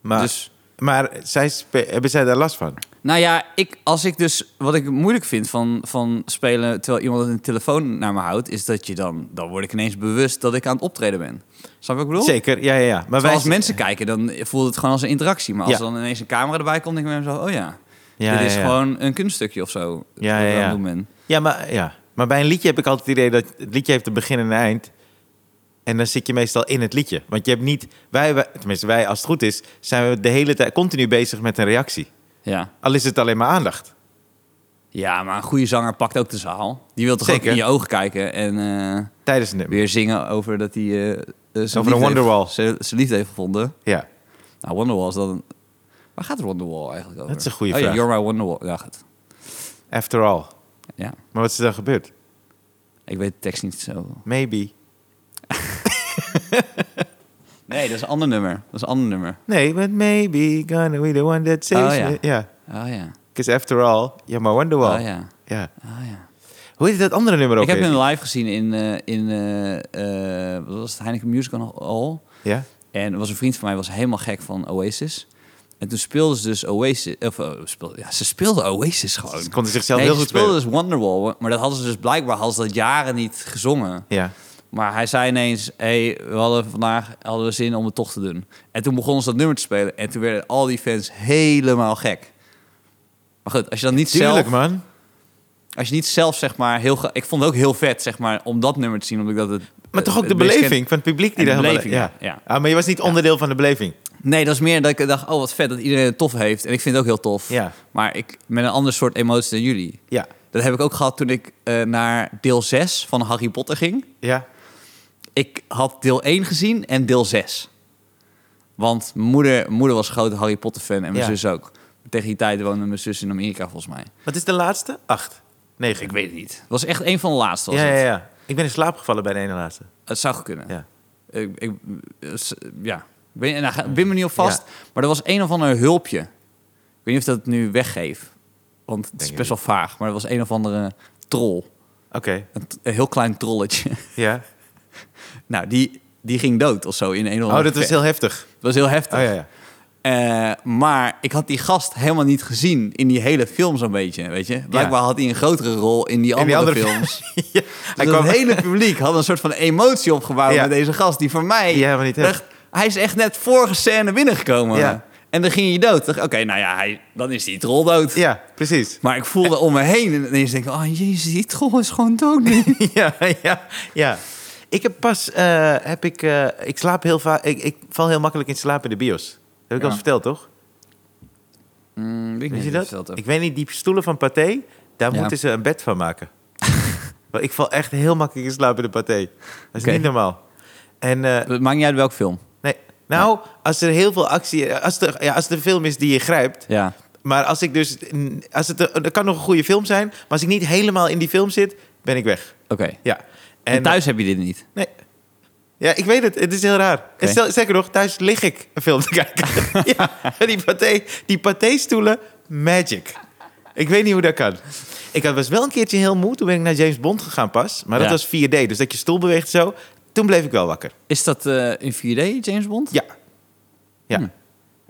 Maar Dus Maar zij spe- hebben zij daar last van? Nou ja, ik, als ik dus, wat ik moeilijk vind van, van spelen terwijl iemand een telefoon naar me houdt, is dat je dan, dan word ik ineens bewust dat ik aan het optreden ben. Snap je wat ik bedoel? Zeker, ja, ja, ja. Maar Terwijl wij, als mensen kijken, dan voelt het gewoon als een interactie. Maar als Ja. er dan ineens een camera erbij komt, denk ik bij mezelf, oh ja, Ja, dit is ja, ja. gewoon een kunststukje of zo. Ja, wat ik ja, aan ja. het doen ben. Ja, maar, ja, maar bij een liedje heb ik altijd het idee dat het liedje heeft een begin en een eind. En dan zit je meestal in het liedje. Want je hebt niet, wij, wij- tenminste wij als het goed is, zijn we de hele tijd continu bezig met een reactie. Ja. Al is het alleen maar aandacht. ja, maar een goede zanger pakt ook de zaal. Die wil toch Zeker. ook in je ogen kijken en eh, Tijdens een nummer. weer zingen over dat hij eh, eh, zijn Over een liefde heeft- Wonderwall. zijn zijn liefde heeft gevonden. Ja. Nou, Wonderwall is dan... Waar gaat Wonderwall eigenlijk over? Dat is een goede oh, vraag. Ja, You're My Wonderwall. Ja, goed. After all. Ja, Maar wat is er dan gebeurd? ik weet de tekst niet zo. Maybe. Nee, dat is een ander nummer. Dat is een ander nummer. Nee, but maybe gonna be the one that saves Oh, ja. me. Ja. Oh ja. Because after all, you're my Wonderwall. Oh ja. Ja. Oh ja. Hoe heet dat andere nummer ook Ik heb weer? hem live gezien in, eh, in eh, eh, wat was het, Heineken Music Hall. Ja? En er was een vriend van mij, was helemaal gek van Oasis. En toen speelden ze dus Oasis, of eh, speelde, ja, ze speelden Oasis gewoon. Ze konden zichzelf heel ze goed spelen. speelden dus Wonderwall, maar dat hadden ze dus blijkbaar hadden ze dat jaren niet gezongen. Ja. Maar hij zei ineens, hey, we hadden vandaag hadden we zin om het toch te doen. En toen begonnen ze dat nummer te spelen. En toen werden al die fans helemaal gek. Maar goed, als je dan niet zelf... Tuurlijk, man. Als je niet zelf, zeg maar, heel... ge- Ik vond het ook heel vet, zeg maar, om dat nummer te zien. Omdat ik dat het... Maar toch het- ook de het meest beleving van het publiek die En de daar beleving, ja. ja. Ah, maar je was niet onderdeel van de beleving. ken. Nee, dat is meer dat ik dacht, oh, wat vet dat iedereen het tof heeft. En ik vind het ook heel tof. Ja. Maar ik met een ander soort emotie dan jullie. Ja. Dat heb ik ook gehad toen ik eh, naar deel 6 van Harry Potter ging. Ja. Ik had deel 1 gezien en deel 6. Want mijn moeder, mijn moeder was een grote Harry Potter fan en mijn Ja. zus ook. Tegen die tijd woonde mijn zus in Amerika volgens mij. Wat is de laatste? Acht. Negen. Ik weet het niet. Het was echt een van de laatste. Was ja, ja, het. ja. Ik ben in slaap gevallen bij de ene laatste. het zou kunnen. Ja. Ik, ik, eh, s- ja. Ik weet- en daar ga- ik ben me niet op vast. Ja. Maar er was een of ander hulpje. Ik weet niet of ik dat nu weggeef. Want het is ik best wel vaag. Maar er was een of andere troll. Oké. Een, t- een heel klein trolletje. Ja. nou, die, die ging dood of zo in een of Oh, andere dat was gevecht. heel heftig. Het was heel heftig. Oh ja, ja. Eh, maar ik had die gast helemaal niet gezien in die hele film zo'n beetje, weet je. Blijkbaar had hij een grotere rol in die In andere, die andere films. ja. Hij Dus kwam... Het hele publiek had een soort van emotie opgebouwd Ja. met deze gast die voor mij... Ja, maar niet hem. dacht, hij is echt net vorige scène binnengekomen. Ja. En dan ging hij dood. Dacht, Oké, nou ja, hij, dan is die troll dood. Ja, precies. Maar ik voelde om me heen en ineens denk ik... Oh jezus, die troll is gewoon dood Hmm, nu. ja, ja, ja. Ik heb pas, eh, heb ik, eh, ik slaap heel vaak, ik, ik val heel makkelijk in slaap in de bios. Dat heb ik al eens verteld, toch? Weet je dat? Ik weet niet, die stoelen van Pathé, daar Ja. moeten ze een bed van maken. Want ik val echt heel makkelijk in slaap in de Pathé. Dat is Oké. niet normaal. En, eh, Het maakt niet uit welk film. nee. Nou, als er heel veel actie, als er, ja, als er een film is die je grijpt, Ja. Maar als ik dus. Als het, er kan nog een goede film zijn. Maar als ik niet helemaal in die film zit, ben ik weg. Oké. Ja. En, thuis heb je dit niet. Nee. Ja, ik weet het. Het is heel raar. En stel, zeker nog, thuis lig ik een film te kijken. ja, die paté, die paté-stoelen, magic. Ik weet niet hoe dat kan. Ik had- was wel een keertje heel moe. Toen ben ik naar James Bond gegaan pas. Maar dat Ja. was 4D. Dus dat je stoel beweegt zo. Toen bleef ik wel wakker. Is dat eh, in 4D, James Bond? Ja. Ja. Hm.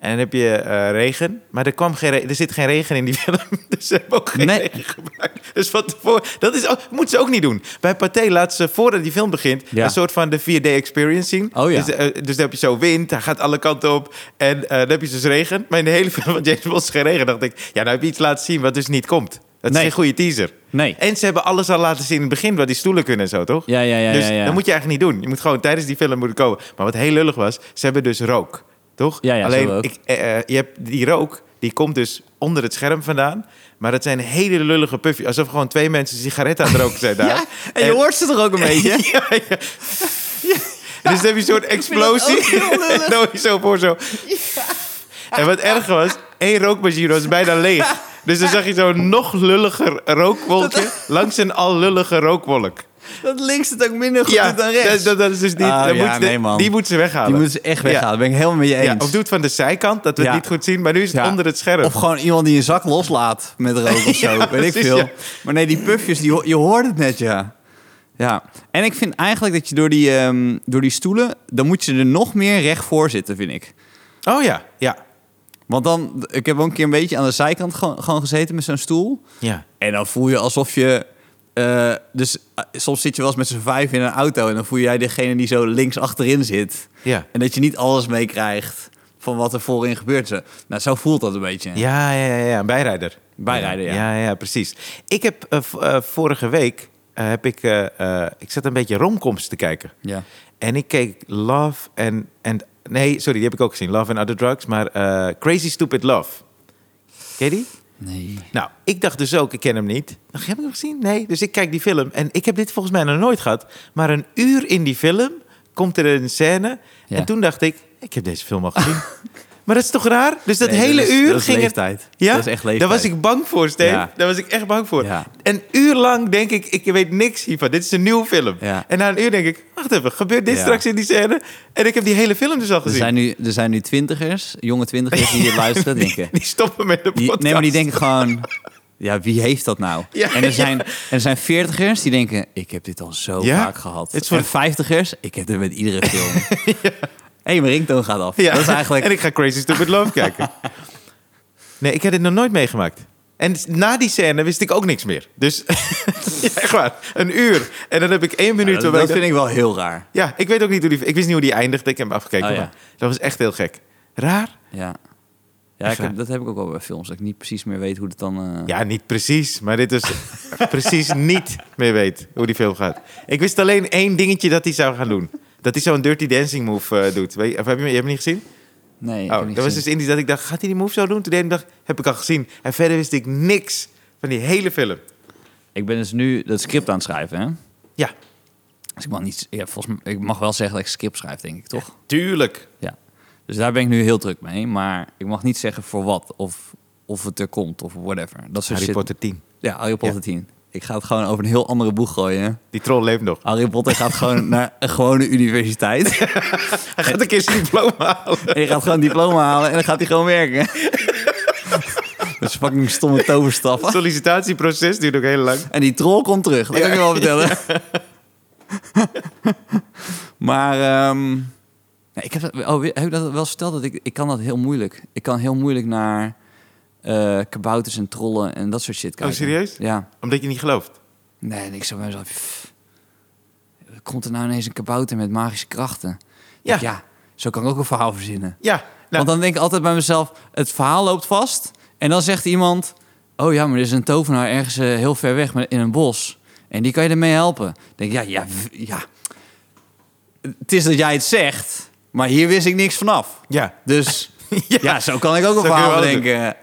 En dan heb je eh, regen. Maar er, kwam geen re- er zit geen regen in die film. Dus ze hebben ook geen Nee. regen gebruikt. Dus van tevoren... Dat is ook, moet ze ook niet doen. Bij Pathé laat ze, voordat die film begint... Ja. een soort van de 4D-experience zien. Oh ja. dus, eh, dus dan heb je zo wind. Hij gaat alle kanten op. En eh, dan heb je dus regen. Maar in de hele film van James Bond is geen regen. dacht ik, ja, nou heb je iets laten zien wat dus niet komt. Dat is Nee. geen goede teaser. Nee. En ze hebben alles al laten zien in het begin... wat die stoelen kunnen en zo, toch? Ja, ja, ja, Dus ja, ja. dan moet je eigenlijk niet doen. Je moet gewoon tijdens die film moeten komen. Maar wat heel lullig was, ze hebben dus rook. Toch? Ja, ja, Alleen, zo ook. Ik, eh, eh, je hebt die rook, die komt dus onder het scherm vandaan. Maar dat zijn hele lullige puffjes. Alsof gewoon twee mensen sigaretten aan het roken zijn daar. Ja, en je hoort ze toch ook een beetje? Ja, ja. En Dus dan heb je een soort explosie. ook heel lullig. En dan hoor je zo voor zo. En wat erger was, één rookmachine was bijna leeg. Dus dan zag je zo'n nog lulliger rookwolkje langs een al lullige rookwolk. Dat links het ook minder goed Ja, doet dan rechts. dat, dat, dat is dus niet. Ah, dat ja, moet ze- nee, man. Die moet ze weghalen. Die moeten ze echt weghalen. Dat ben ik helemaal met je Ja, eens. of doe het van de zijkant, dat we het Ja. niet goed zien. Maar nu is het Ja. onder het scherm. Of gewoon iemand die een zak loslaat met rook of zo. Ja, Weet ik precies, veel. ja. Maar nee, die puffjes, die, ho- je hoort het net, ja. Ja, en ik vind eigenlijk dat je door die, ehm, door die stoelen... dan moet je er nog meer recht voor zitten, vind ik. Oh ja, ja. Want dan, ik heb ook een keer een beetje aan de zijkant gewoon, gewoon gezeten met zo'n stoel. Ja. En dan voel je alsof je. eh, dus eh, soms zit je wel eens met z'n vijf in een auto en dan voel jij degene die zo links achterin zit. Ja. En dat je niet alles meekrijgt van wat er voorin gebeurt. Zo- Nou, zo voelt dat een beetje. Ja, ja, ja, ja, een bijrijder. Bijrijder, ja. Ja, ja, precies. Ik heb eh, v- eh, vorige week, eh, heb ik, eh, eh, ik zat een beetje romcoms te kijken. Ja. En ik keek Love and, and... Nee, sorry, die heb ik ook gezien. Love and Other Drugs, maar eh, Crazy Stupid Love. Ken je die? Nee. Nou, ik dacht dus ook, ik ken hem niet. Dacht, heb ik hem gezien? Nee. Dus ik kijk die film en ik heb dit volgens mij nog nooit gehad. Maar een uur in die film komt er een scène. Ja. En toen dacht ik, ik heb deze film al gezien. maar dat is toch raar? Dus dat Nee, hele dat is- uur dat is ging het... leeftijd. Ja? Dat is echt leeftijd. Daar was ik bang voor, Steve. Ja. Daar was ik echt bang voor. Ja. Een uur lang denk ik, ik weet niks hiervan. Dit is een nieuwe film. Ja. En na een uur denk ik, wacht even, gebeurt dit Ja. straks in die scène? En ik heb die hele film dus al Er gezien. zijn, nu, er zijn nu twintigers, jonge twintigers die dit luisteren denken. Die stoppen met de Die, podcast. nee, maar die denken gewoon... Ja, wie heeft dat nou? Ja, en ja. er zijn, en er zijn veertigers die denken... Ik heb dit al zo Ja, vaak gehad. het is voor- En vijftigers, ik heb dit met iedere film. Hé, hey, mijn ringtoon gaat af. Ja. Dat is eigenlijk... En ik ga Crazy Stupid Love kijken. Nee, ik heb dit nog nooit meegemaakt. En na die scène wist ik ook niks meer. Dus ja, echt waar, een uur. En dan heb ik één minuut. Ja, dat, waarbij dat vind ik wel heel raar. dacht- Ja, ik weet ook niet hoe die. Ik wist niet hoe die eindigde. Ik heb hem afgekeken. Oh, ja. maar Dat was echt heel gek. Raar? Ja, ja ik raar. heb, dat heb ik ook wel bij films. Dat ik niet precies meer weet hoe het dan... eh, Ja, niet precies. Maar dit is precies niet meer weet hoe die film gaat. Ik wist alleen één dingetje dat hij zou gaan doen. Dat hij zo'n dirty dancing move eh, doet. Weet je, of heb je, hem- je hebt hem niet gezien? Nee, ik heb Oh, niet dat was gezien. dus in die dat ik dacht, gaat hij die move zo doen? Toen deed ik dacht, heb ik al gezien. En verder wist ik niks van die hele film. Ik ben dus nu dat script aan het schrijven, hè? Ja, Dus ik mag, niet, ja, volgens mij, ik mag wel zeggen dat ik script schrijf, denk ik, toch? tuurlijk. Ja. Dus daar ben ik nu heel druk mee. Maar ik mag niet zeggen voor wat. Of, of het er komt of whatever. Dat soort Harry shit. Potter 10. Ja, Harry Potter Ja. 10. Ik ga het gewoon over een heel andere boeg gooien. Die troll leeft nog. Harry Potter gaat gewoon naar een gewone universiteit. Hij gaat een keer zijn diploma halen. en je gaat gewoon een diploma halen en dan gaat hij gewoon werken. Dat is fucking stomme Het toverstaf. sollicitatieproces duurt ook heel lang. En die troll komt terug. Dat kan ik je wel vertellen. maar ehm, nee, ik heb, dat- oh, heb ik dat wel eens verteld? Dat ik, ik kan dat heel moeilijk. Ik kan heel moeilijk naar eh, kabouters en trollen en dat soort shit kijken. serieus? Ja. Omdat je niet gelooft. Nee, en ik zou bij mezelf... "Pff, Komt er nou ineens een kabouter met magische krachten? Ja. Ja. ja, zo kan ik ook een verhaal verzinnen. Ja, nou, Want dan denk ik altijd bij mezelf, het verhaal loopt vast. En dan zegt iemand, oh ja, maar er is een tovenaar ergens eh, heel ver weg maar in een bos. En die kan je ermee helpen. Dan denk ik, ja, ja, w- ja. Het is dat jij het zegt, maar hier wist ik niks vanaf. ja. Dus Ja. ja, zo kan ik ook een Zo kun je verhaal wel doen. denken.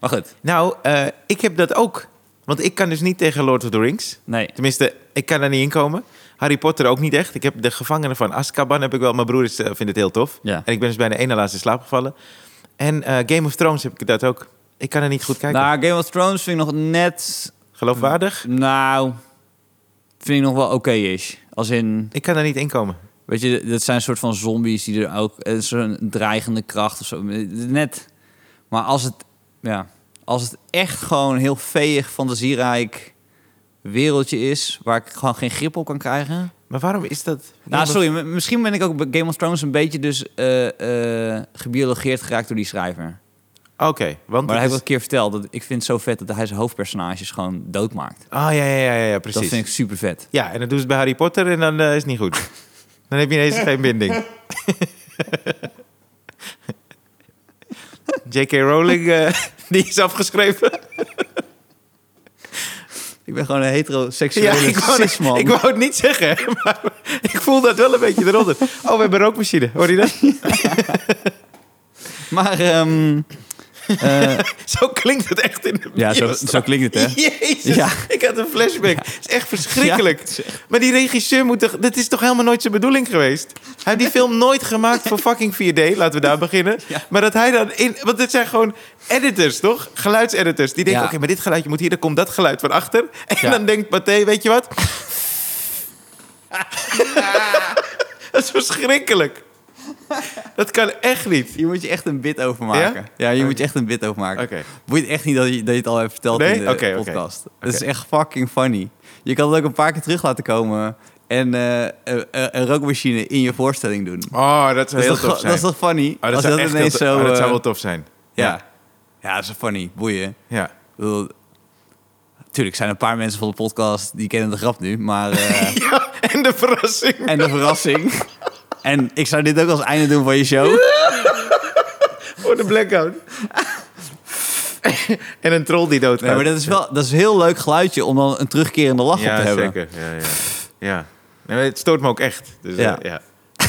Maar goed, nou eh, ik heb dat ook. Want ik kan dus niet tegen Lord of the Rings. nee. Tenminste, ik kan daar niet in komen. Harry Potter ook niet echt. Ik heb de gevangenen van Azkaban heb ik wel. Mijn broer is, eh, vindt het heel tof. Ja. En ik ben dus bijna één na laatst in slaap gevallen. En eh, Game of Thrones heb ik dat ook. Ik kan er niet goed kijken. Nou, Game of Thrones vind ik nog net, Geloofwaardig? nou, vind ik nog wel oké-ish. Als in, Ik kan er niet in komen. Weet je, dat zijn een soort van zombies die er ook... eh, Zo'n dreigende kracht of zo. Net. Maar als het... Ja, als het echt gewoon een heel veeg, fantasierijk wereldje is... waar ik gewoon geen grip op kan krijgen... Maar waarom is dat? nou, sorry. m- Misschien ben ik ook bij Game of Thrones een beetje dus... eh, eh, gebiologeerd geraakt door die schrijver. Oké, want. Maar hij het heeft is- wel een keer verteld... dat ik vind het zo vet dat hij zijn hoofdpersonages gewoon doodmaakt. Ah, ja, ja, ja, ja, ja, precies. Dat vind ik super vet. Ja, en dan doen ze het bij Harry Potter en dan eh, is het niet goed. dan heb je ineens geen binding. J.K. Rowling, eh, die is afgeschreven. Ik ben gewoon een Ja, heteroseksuele ik wou, cisman. ik wou het niet zeggen, maar ik voel dat wel een beetje eronder. Oh, we hebben een rookmachine, hoor je dat? Maar... ehm, eh, Zo klinkt het echt in de Ja, zo, bioscoop. zo klinkt het, hè? Jezus, Ja. ik had een flashback. Het is echt verschrikkelijk. Maar die regisseur moet toch... Dat is toch helemaal nooit zijn bedoeling geweest? Hij heeft die film nooit gemaakt voor fucking 4D. Laten we daar beginnen. Ja. Maar dat hij dan in... Want dit zijn gewoon editors, toch? Geluidseditors. Die denken, Ja. oké, maar dit geluidje moet hier. Dan komt dat geluid van achter. En Ja. dan denkt Pathé, weet je wat? dat is verschrikkelijk. Dat kan echt niet. Hier moet je echt een bit over maken. Ja? Ja, hier moet je echt een bit over maken. Oké. Boeit echt niet dat je, dat je het al hebt verteld Nee? in de Oké, oké. podcast. Het is echt fucking funny. Je kan het ook een paar keer terug laten komen en eh, eh, eh, een rookmachine in je voorstelling doen. Oh, dat zou Dat is, heel toch, tof dat zijn. is toch funny? Oh, dat als zou dat echt heel ineens tof- zo... oh, dat zou wel eh, tof zijn. Ja. Ja, dat is funny. Boeien. Ja. Ik bedoel, Tuurlijk zijn er een paar mensen van de podcast die kennen de grap nu, maar... eh, ja. En de verrassing. en de verrassing. En ik zou dit ook als einde doen van je show. Voor de blackout. en een troll die doodgaat. Nee, maar dat is wel dat is een heel leuk geluidje om dan een terugkerende lach op ja, te hebben. zeker. Ja, ja. ja. Nee, maar het stoort me ook echt. Dus, eh, Ja. ja.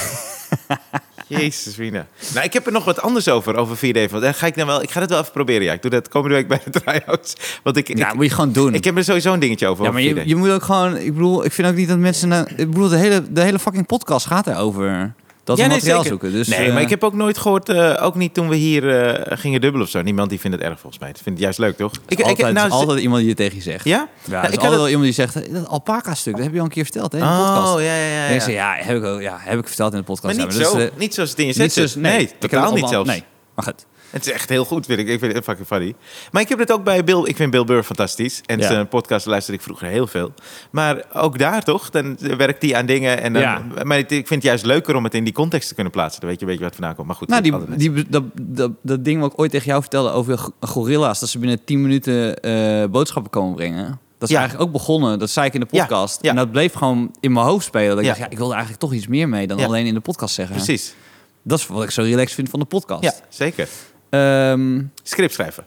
Jezus, Mina. Nou, ik heb er nog wat anders over, over 4D. Want daar ga ik, dan wel, ik ga dat wel even proberen, ja. Ik doe dat komende week bij de try-outs. Want ik, Nou, ik, moet je gewoon doen. ik heb er sowieso een dingetje over. ja, over maar 4D. je, je moet ook gewoon... Ik bedoel, ik vind ook niet dat mensen... nou- ik bedoel, de hele, de hele fucking podcast gaat erover dat Ja, we nee, materiaal zeker. zoeken. Dus, nee, eh, maar ik heb ook nooit gehoord, eh, ook niet toen we hier eh, gingen dubbelen of zo. Niemand die vindt het erg volgens mij. Ik vind het juist leuk, toch? Ik, ik, altijd, nou, altijd iemand die het tegen je zegt. Ja? Ja, Nou, er is ik had altijd het- wel iemand die zegt, dat alpaca-stuk, dat heb je al een keer verteld hè, in de podcast. Oh, ja, ja, ja. En ik zeg, ja, heb ik, ook, ja, heb ik verteld in de Maar podcast. niet ja, maar zo. dat is, eh, niet zoals het in je niet zet zit. zo- nee, Nee, ik heb het totaal niet allemaal- zelfs. Nee, maar goed. Het is echt heel goed, vind ik. Ik vind het fucking funny. Maar ik heb het ook bij Bill... Ik vind Bill Burr fantastisch. En Ja. zijn podcast luisterde ik vroeger heel veel. Maar ook daar toch, dan werkt hij aan dingen. En dan, Ja. Maar het- ik vind het juist leuker om het in die context te kunnen plaatsen. Dan weet je een beetje wat vandaan komt. Maar goed, Nou, dat- die, die, dat, dat, dat ding wat ik ooit tegen jou vertelde over go- gorilla's, dat ze binnen 10 minuten eh, boodschappen komen brengen. Dat is Ja. eigenlijk ook begonnen, dat zei ik in de Ja, podcast. ja. En dat bleef gewoon in mijn hoofd spelen. Dat ik Ja. dacht, ja, ik wilde eigenlijk toch iets meer mee dan Ja. alleen in de podcast zeggen. Precies. Dat is wat ik zo relaxed vind van de podcast. Ja, zeker. Ja, Script schrijven.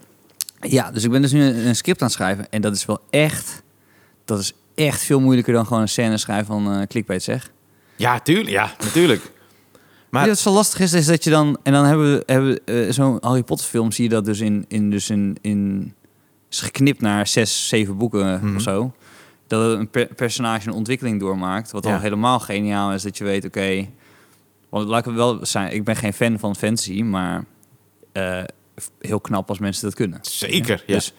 ja dus ik ben dus nu een, een script aan het schrijven. En dat is wel echt, dat is echt veel moeilijker dan gewoon een scène schrijven van eh clickbait zeg. Ja, tuurlijk. Ja, natuurlijk. Maar- Maar wat zo lastig is, is dat je dan... En dan hebben we, hebben we, eh, zo'n Harry Potter film, zie je dat dus in... in, dus in, in is geknipt naar zes, zeven boeken eh, Mhm. of zo. Dat het een per- personage een ontwikkeling doormaakt. Wat Ja. al helemaal geniaal is, dat je weet, oké... want laat ik het wel zijn, ik ben geen fan van fantasy, maar... eh, f- heel knap als mensen dat kunnen. Zeker, ja. Dus,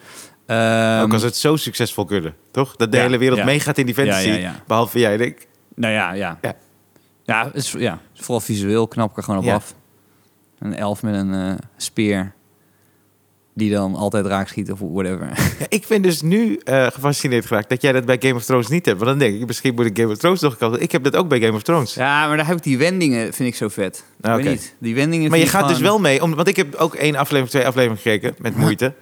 ehm, ook als het zo succesvol kunnen, toch? Dat de ja, hele wereld ja. meegaat in die fantasy. Ja, ja, ja. Behalve jij en ik. Nou ja, ja. Ja. Ja, het is, ja het is vooral visueel knap ik er gewoon op Ja. af. Een elf met een eh, speer die dan altijd raak schiet of whatever. Ja, ik ben dus nu eh, gefascineerd geraakt dat jij dat bij Game of Thrones niet hebt. Want dan denk ik, misschien moet ik Game of Thrones nog kopen. Ik heb dat ook bij Game of Thrones. Ja, maar daar heb ik die wendingen, vind ik zo vet. Ik Ah, weet oké. niet. Die wendingen maar je vind ik gaat dus gewoon- wel mee, om, want ik heb ook één aflevering, twee afleveringen gekeken met moeite.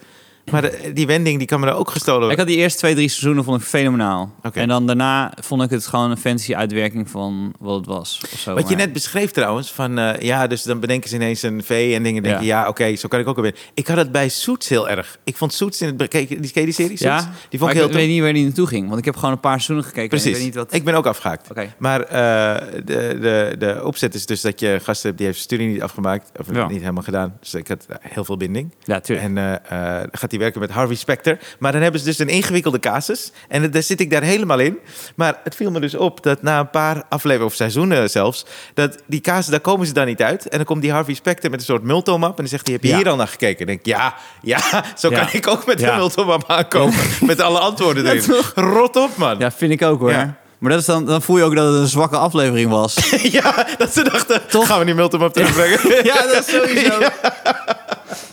Maar de- die wending, die kan me daar ook gestolen Ik worden. had die eerste twee, drie seizoenen vond ik fenomenaal. Oké. En dan daarna vond ik het gewoon een fancy uitwerking van wat het was. Of zo, Wat je maar- net beschreef trouwens, van eh, ja, dus dan bedenken ze ineens een V en dingen. Denk je, Ja. ja, oké, zo kan ik ook alweer. Ik had het bij Soets heel erg. Ik vond Soets in het bekeken, die, ken je die serie, Soets? Ja, die vond maar ik ik, heel tof. weet niet waar die naartoe ging. Want ik heb gewoon een paar seizoenen gekeken. Precies. En ik weet niet wat... ben ook afgehaakt. Oké. Maar eh, de, de, de opzet is dus dat je gasten hebt die heeft zijn studie niet afgemaakt. Of Ja. niet helemaal gedaan. Dus ik had eh, heel veel binding. Ja, tuurlijk. En eh, eh, gaat hij werken met Harvey Specter. Maar dan hebben ze dus een ingewikkelde casus. En het- daar zit ik daar helemaal in. Maar het viel me dus op dat na een paar afleveringen of seizoenen zelfs... dat die casus, daar komen ze dan niet uit. En dan komt die Harvey Specter met een soort multomap. En dan zegt hij, heb je Ja. hier al naar gekeken? En dan denk ik, ja, ja, zo Ja. kan ik ook met Ja. een multomap aankomen. met alle antwoorden erin. Rot op, man. Ja, vind ik ook hoor. Ja. Maar dat is dan, dan voel je ook dat het een zwakke aflevering was. Ja, dat ze dachten, Toch? gaan we die multimap terugbrengen? Ja, dat is sowieso.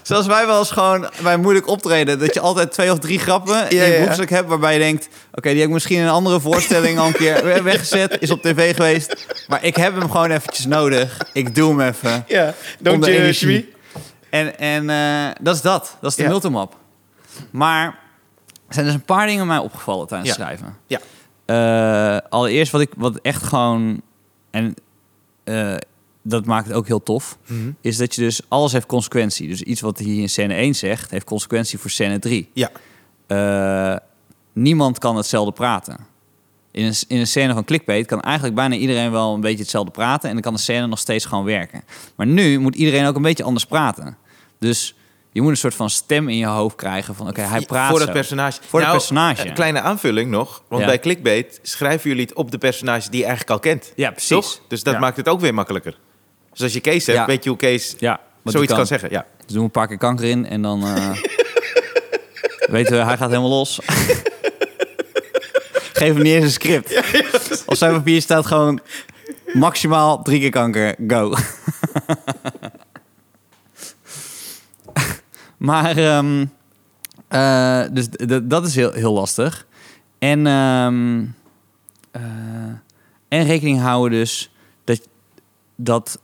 Zoals wij wel eens gewoon bij moeilijk optreden... dat je altijd twee of drie grappen in Ja, je ja. broekzak hebt... waarbij je denkt, oké, die heb ik misschien in een andere voorstelling... al een keer we- weggezet, is op tv geweest. Maar ik heb hem gewoon eventjes nodig. Ik doe hem even. Ja, Om don't de you, energie. Jimmy? En, en eh, dat is dat. Dat is de Ja. multimap. Maar er zijn dus een paar dingen mij opgevallen tijdens het Ja. schrijven. Ja. Eh, allereerst wat ik wat echt gewoon... En eh, dat maakt het ook heel tof. Mhm. Is dat je dus... Alles heeft consequentie. Dus iets wat hij in scène 1 zegt... heeft consequentie voor scène 3. Ja, Eh, niemand kan hetzelfde praten. In een, in een scène van clickbait kan eigenlijk bijna iedereen wel een beetje hetzelfde praten. En dan kan de scène nog steeds gewoon werken. Maar nu moet iedereen ook een beetje anders praten. Dus je moet een soort van stem in je hoofd krijgen van oké, hij praat voor dat zo. personage. Voor dat Nou, personage. Een kleine aanvulling nog, want Ja. bij Clickbait schrijven jullie het op de personage die je eigenlijk al kent. Ja, precies. Toch? Dus dat Ja. maakt het ook weer makkelijker. Dus als je Kees hebt, Ja. weet je hoe Kees Ja, wat zoiets hij kan. zeggen. Ja. Dus doen we een paar keer kanker in en dan eh, weten we, hij gaat helemaal los. Geef hem niet eens een script. Op zijn papier staat gewoon maximaal drie keer kanker, go. maar, ehm, eh, dus d- d- dat is heel, heel lastig. En, ehm, eh, en rekening houden dus dat, dat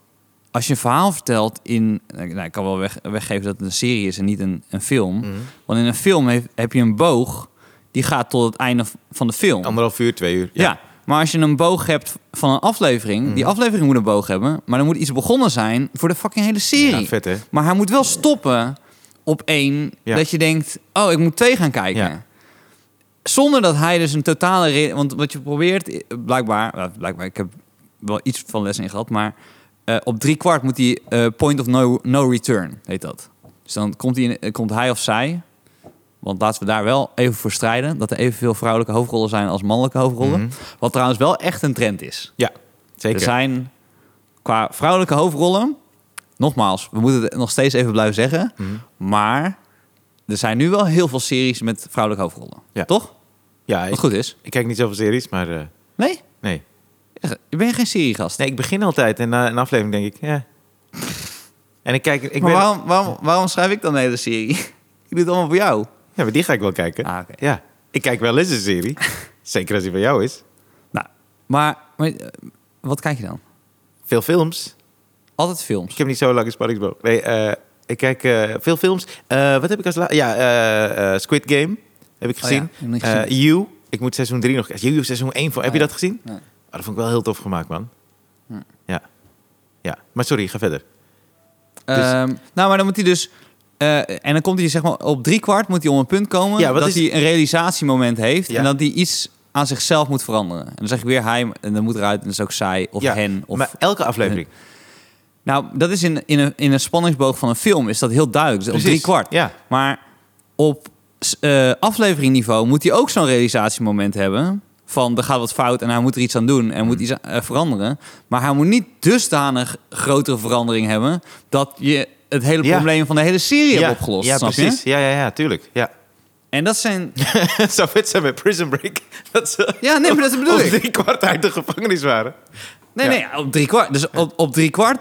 als je een verhaal vertelt in... Nou, ik kan wel weg, weggeven dat het een serie is en niet een, een film. Want in een film heb, heb je een boog... die gaat tot het einde van de film. Anderhalf uur, twee uur. Ja. Maar als je een boog hebt van een aflevering, die Mhm. aflevering moet een boog hebben, maar er moet iets begonnen zijn voor de fucking hele serie. Ja, vet, hè? Maar hij moet wel stoppen op één Ja. dat je denkt, oh, ik moet twee gaan kijken. Ja. Zonder dat hij dus een totale re- want wat je probeert eh, blijkbaar, eh, blijkbaar ik heb wel iets van les in gehad, maar eh, op drie kwart moet hij eh, point of no, no return heet dat. Dus dan komt hij, in- eh, komt hij of zij. Want laten we daar wel even voor strijden. Dat er evenveel vrouwelijke hoofdrollen zijn als mannelijke hoofdrollen. Wat trouwens wel echt een trend is. Ja, zeker. Er zijn qua vrouwelijke hoofdrollen, nogmaals, we moeten het nog steeds even blijven zeggen, Mhm. maar er zijn nu wel heel veel series met vrouwelijke hoofdrollen. Ja. Toch? ja, ik, Wat goed is. ik kijk niet zoveel series, maar eh, Nee? nee. Je bent geen seriegast. Nee, ik begin altijd en na een aflevering denk ik, ja. En ik kijk, ik ben, maar waarom, waarom, waarom schrijf ik dan een hele serie? ik doe het allemaal voor jou. ja, maar die ga ik wel kijken. Ah, oké. Ja, ik kijk wel eens een serie. zeker als die van jou is. Nou, maar, maar eh, wat kijk je dan? Veel films. Altijd films. Ik heb niet zo lang een spanningsboog. Nee, eh, ik kijk eh, veel films. Eh, wat heb ik als laatste? Ja, eh, eh, Squid Game heb ik Oh, ja, gezien. heb ik niet gezien. Eh, you, ik moet seizoen 3 nog kijken. You, seizoen 1. Heb je ja. Hm. dat gezien? Nee. Oh, dat vond ik wel heel tof gemaakt, man. Ja. ja. Maar sorry, ga verder. Dus- Ehm, nou, maar dan moet hij dus. eh, en dan komt hij zeg maar op drie kwart moet hij om een punt komen Ja, wat dat is- hij een realisatiemoment heeft Ja. en dat hij iets aan zichzelf moet veranderen. En dan zeg ik weer hij en dan moet eruit en dat is ook zij of ja. hen. Of... Maar elke aflevering. Nou, dat is in, in, een, in een spanningsboog van een film is dat heel duidelijk. Dus Op Precies. drie kwart. Ja. Maar op s- eh, afleveringniveau moet hij ook zo'n realisatiemoment hebben. Van er gaat wat fout en hij moet er iets aan doen en Hmm. moet iets aan- eh, veranderen. Maar hij moet niet dusdanig grotere verandering hebben dat je het hele Ja. probleem van de hele serie ja. hebt opgelost. Ja, snap precies. Je? Ja, ja, ja, tuurlijk. Ja. En dat zijn. Het zou vet zijn met Prison Break. Dat ze Ja, nee, maar dat bedoel op ik. drie kwart uit de gevangenis waren. Nee, Ja. nee, op drie kwart. Dus op, op drie kwart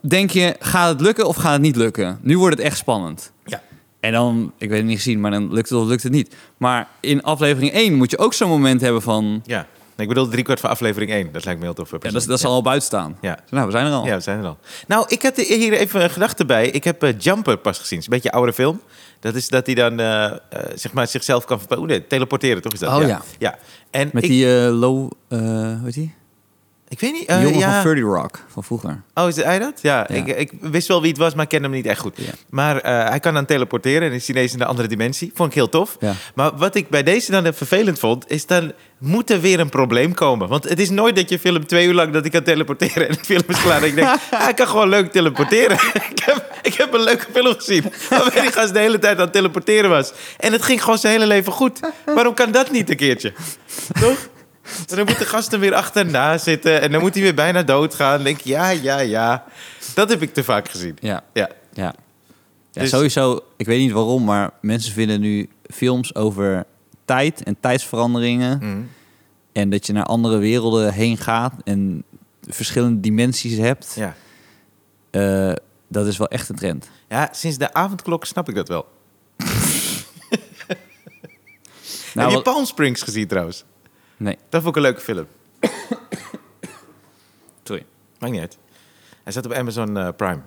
denk je: gaat het lukken of gaat het niet lukken? Nu wordt het echt spannend. Ja. En dan, ik weet het niet gezien, maar dan lukt het of lukt het niet. Maar in aflevering 1 moet je ook zo'n moment hebben van... Ja. Nee, ik bedoel drie kwart van aflevering 1. Dat lijkt me heel tof. Ja, dat, is- dat zal al buiten staan. Ja. Nou, we zijn er al. Ja, we zijn er al. Nou, ik had hier even een gedachte bij. Ik heb eh, Jumper pas gezien. Het is een beetje een oude film. Dat is dat hij dan eh, eh, zeg maar zichzelf kan verpa- Oeh, nee, teleporteren, toch? Is dat? Oh, ja. ja. En Met ik, die eh, low... eh hoe heet die? ik weet niet. Die eh, jongen ja. van 30 Rock van vroeger. Oh, is hij dat? Ja, Ja. Ik, ik wist wel wie het was, maar ik kende hem niet echt goed. Ja. Maar eh, hij kan dan teleporteren en is ineens in een andere dimensie. Vond ik heel tof. Ja. Maar wat ik bij deze dan vervelend vond, is dan moet er weer een probleem komen. Want het is nooit dat je film twee uur lang dat ik kan teleporteren en de film is klaar. En ik denk, ah, ik kan gewoon leuk teleporteren. ik, heb, ik heb een leuke film gezien waarbij die gast de hele tijd aan het teleporteren was. En het ging gewoon zijn hele leven goed. Waarom kan dat niet een keertje? Toch? En dan moet de gast er weer achterna zitten. En dan moet hij weer bijna doodgaan. Dan denk ik, ja, ja, ja. Dat heb ik te vaak gezien. Ja. Ja. Ja. ja Dus- Sowieso, ik weet niet waarom, maar mensen vinden nu films over tijd en tijdsveranderingen. Mhm. En dat je naar andere werelden heen gaat en verschillende dimensies hebt. Ja. Eh, dat is wel echt een trend. ja, sinds de avondklok snap ik dat wel. heb je Nou, wat- Palm Springs gezien trouwens? Nee, Dat vond ik een leuke film. sorry. Maakt niet uit. Hij zat op Amazon eh, Prime.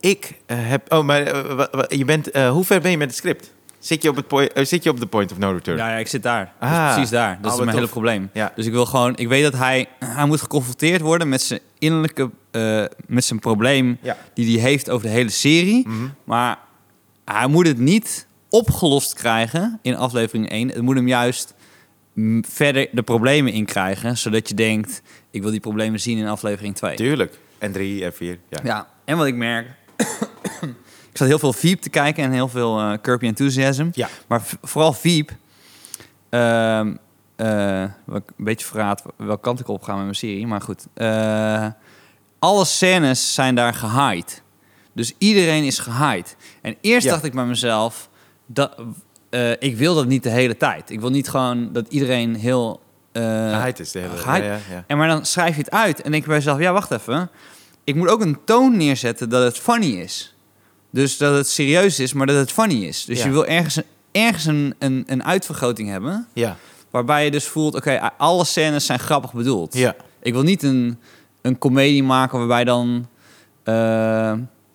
Ik eh, heb... Oh, maar eh, wa- wa- je bent, eh, hoe ver ben je met het script? Zit je op, het poi- eh, zit je op de point of no return? Ja, ja, ik zit daar. Dat Ah. is precies daar. Oh, Dat wat is mijn tof. hele probleem. Ja. Dus ik wil gewoon... Ik weet dat hij... Hij moet geconfronteerd worden met zijn innerlijke... eh, met zijn probleem Ja. Mhm. die hij heeft over de hele serie. Maar hij moet het niet opgelost krijgen in aflevering 1. Het moet hem juist mm, verder de problemen in krijgen. Zodat je denkt... Ik wil die problemen zien in aflevering 2. Tuurlijk. En drie en vier. Ja. Ja, en wat ik merk. ik zat heel veel Veep te kijken en heel veel eh Kirby Enthusiasm. Ja. Maar v- vooral Veep. ehm, eh, wat ik een beetje verraad welke kant ik op ga met mijn serie. Maar goed. Eh, alle scènes zijn daar gehaaid. Dus iedereen is gehaaid. En eerst Ja. dacht ik bij mezelf... Dat, eh, ik wil dat niet de hele tijd. Ik wil niet gewoon dat iedereen heel... eh, Gehaaid is de hele- gehaaid- ja, ja, ja. en maar dan schrijf je het uit en denk je bij jezelf... ja, wacht even. Ik moet ook een toon neerzetten dat het funny is. Dus dat het serieus is, maar dat het funny is. Dus Ja. je wil ergens, een- ergens een, een, een uitvergroting hebben... Ja. waarbij je dus voelt... oké, alle scènes zijn grappig bedoeld. Ja. Ik wil niet een, een comedie maken waarbij dan... eh,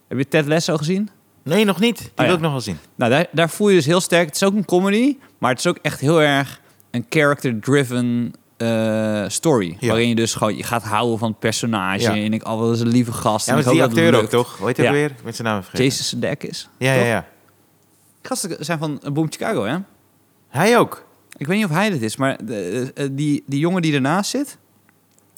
heb je Ted Lasso gezien? Nee, nog niet. Die Oh, ja. wil ik nog wel zien. Nou, daar, daar voel je dus heel sterk. Het is ook een comedy, maar het is ook echt heel erg een character-driven eh, story. Ja. Waarin je dus gewoon je gaat houden van het personage. Ja. En ik, oh, dat is een lieve gast. Ja, en maar ik die hoop dat het acteur ook, lukt. toch? Hoe heet hij Ja. weer? Met zijn naam vergeten. Jason Sudeikis. Ja, ja, toch? ja. Gasten zijn van Boom Chicago, hè? Hij ook. Ik weet niet of hij dit is, maar de- eh, die, die jongen die ernaast zit...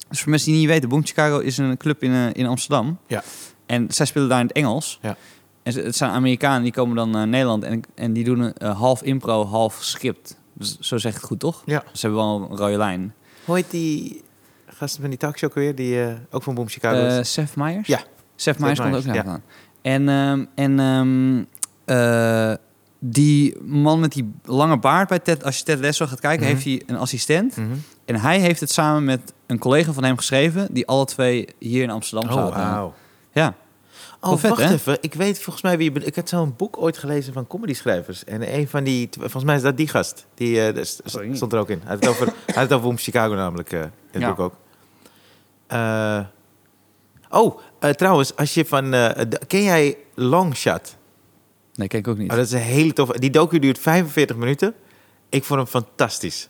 Dus voor mensen die niet weten, Boom Chicago is een club in, eh, in Amsterdam. Ja. En zij spelen daar in het Engels. Ja. En ze- het zijn Amerikanen, die komen dan naar Nederland en, en die doen een, eh, half impro, half script. Dus zo zeg ik het goed, toch? Ja. Ze hebben wel een rode lijn. Hoe heet die gast van die talkshow ook weer? Die eh, ook van Boom Chicago is? Eh, Seth Meyers? Ja. Seth Meyers komt ook Meyers, ja. naar vandaan. En, ehm, en ehm, eh, die man met die lange baard bij Ted... Als je Ted Lasso gaat kijken, Mhm. heeft hij een assistent. Mhm. En hij heeft het samen met een collega van hem geschreven... die alle twee hier in Amsterdam Oh, zaten. wauw. Ja. Oh, Wel vet, wacht hè? even. Ik weet volgens mij wie je bent. Ik had zo'n boek ooit gelezen van comedyschrijvers. En een van die... Volgens mij is dat die gast. Die eh, daar st- Sorry. stond er ook in. Hij had het over, hij had het over Boom Chicago namelijk. eh, in het Ja. boek ook. Eh, oh, eh, trouwens. Als je van... eh, de- ken jij Longshot? Nee, ken ik ook niet. Oh, dat is een hele toffe... Die docu duurt 45 minuten. Ik vond hem fantastisch.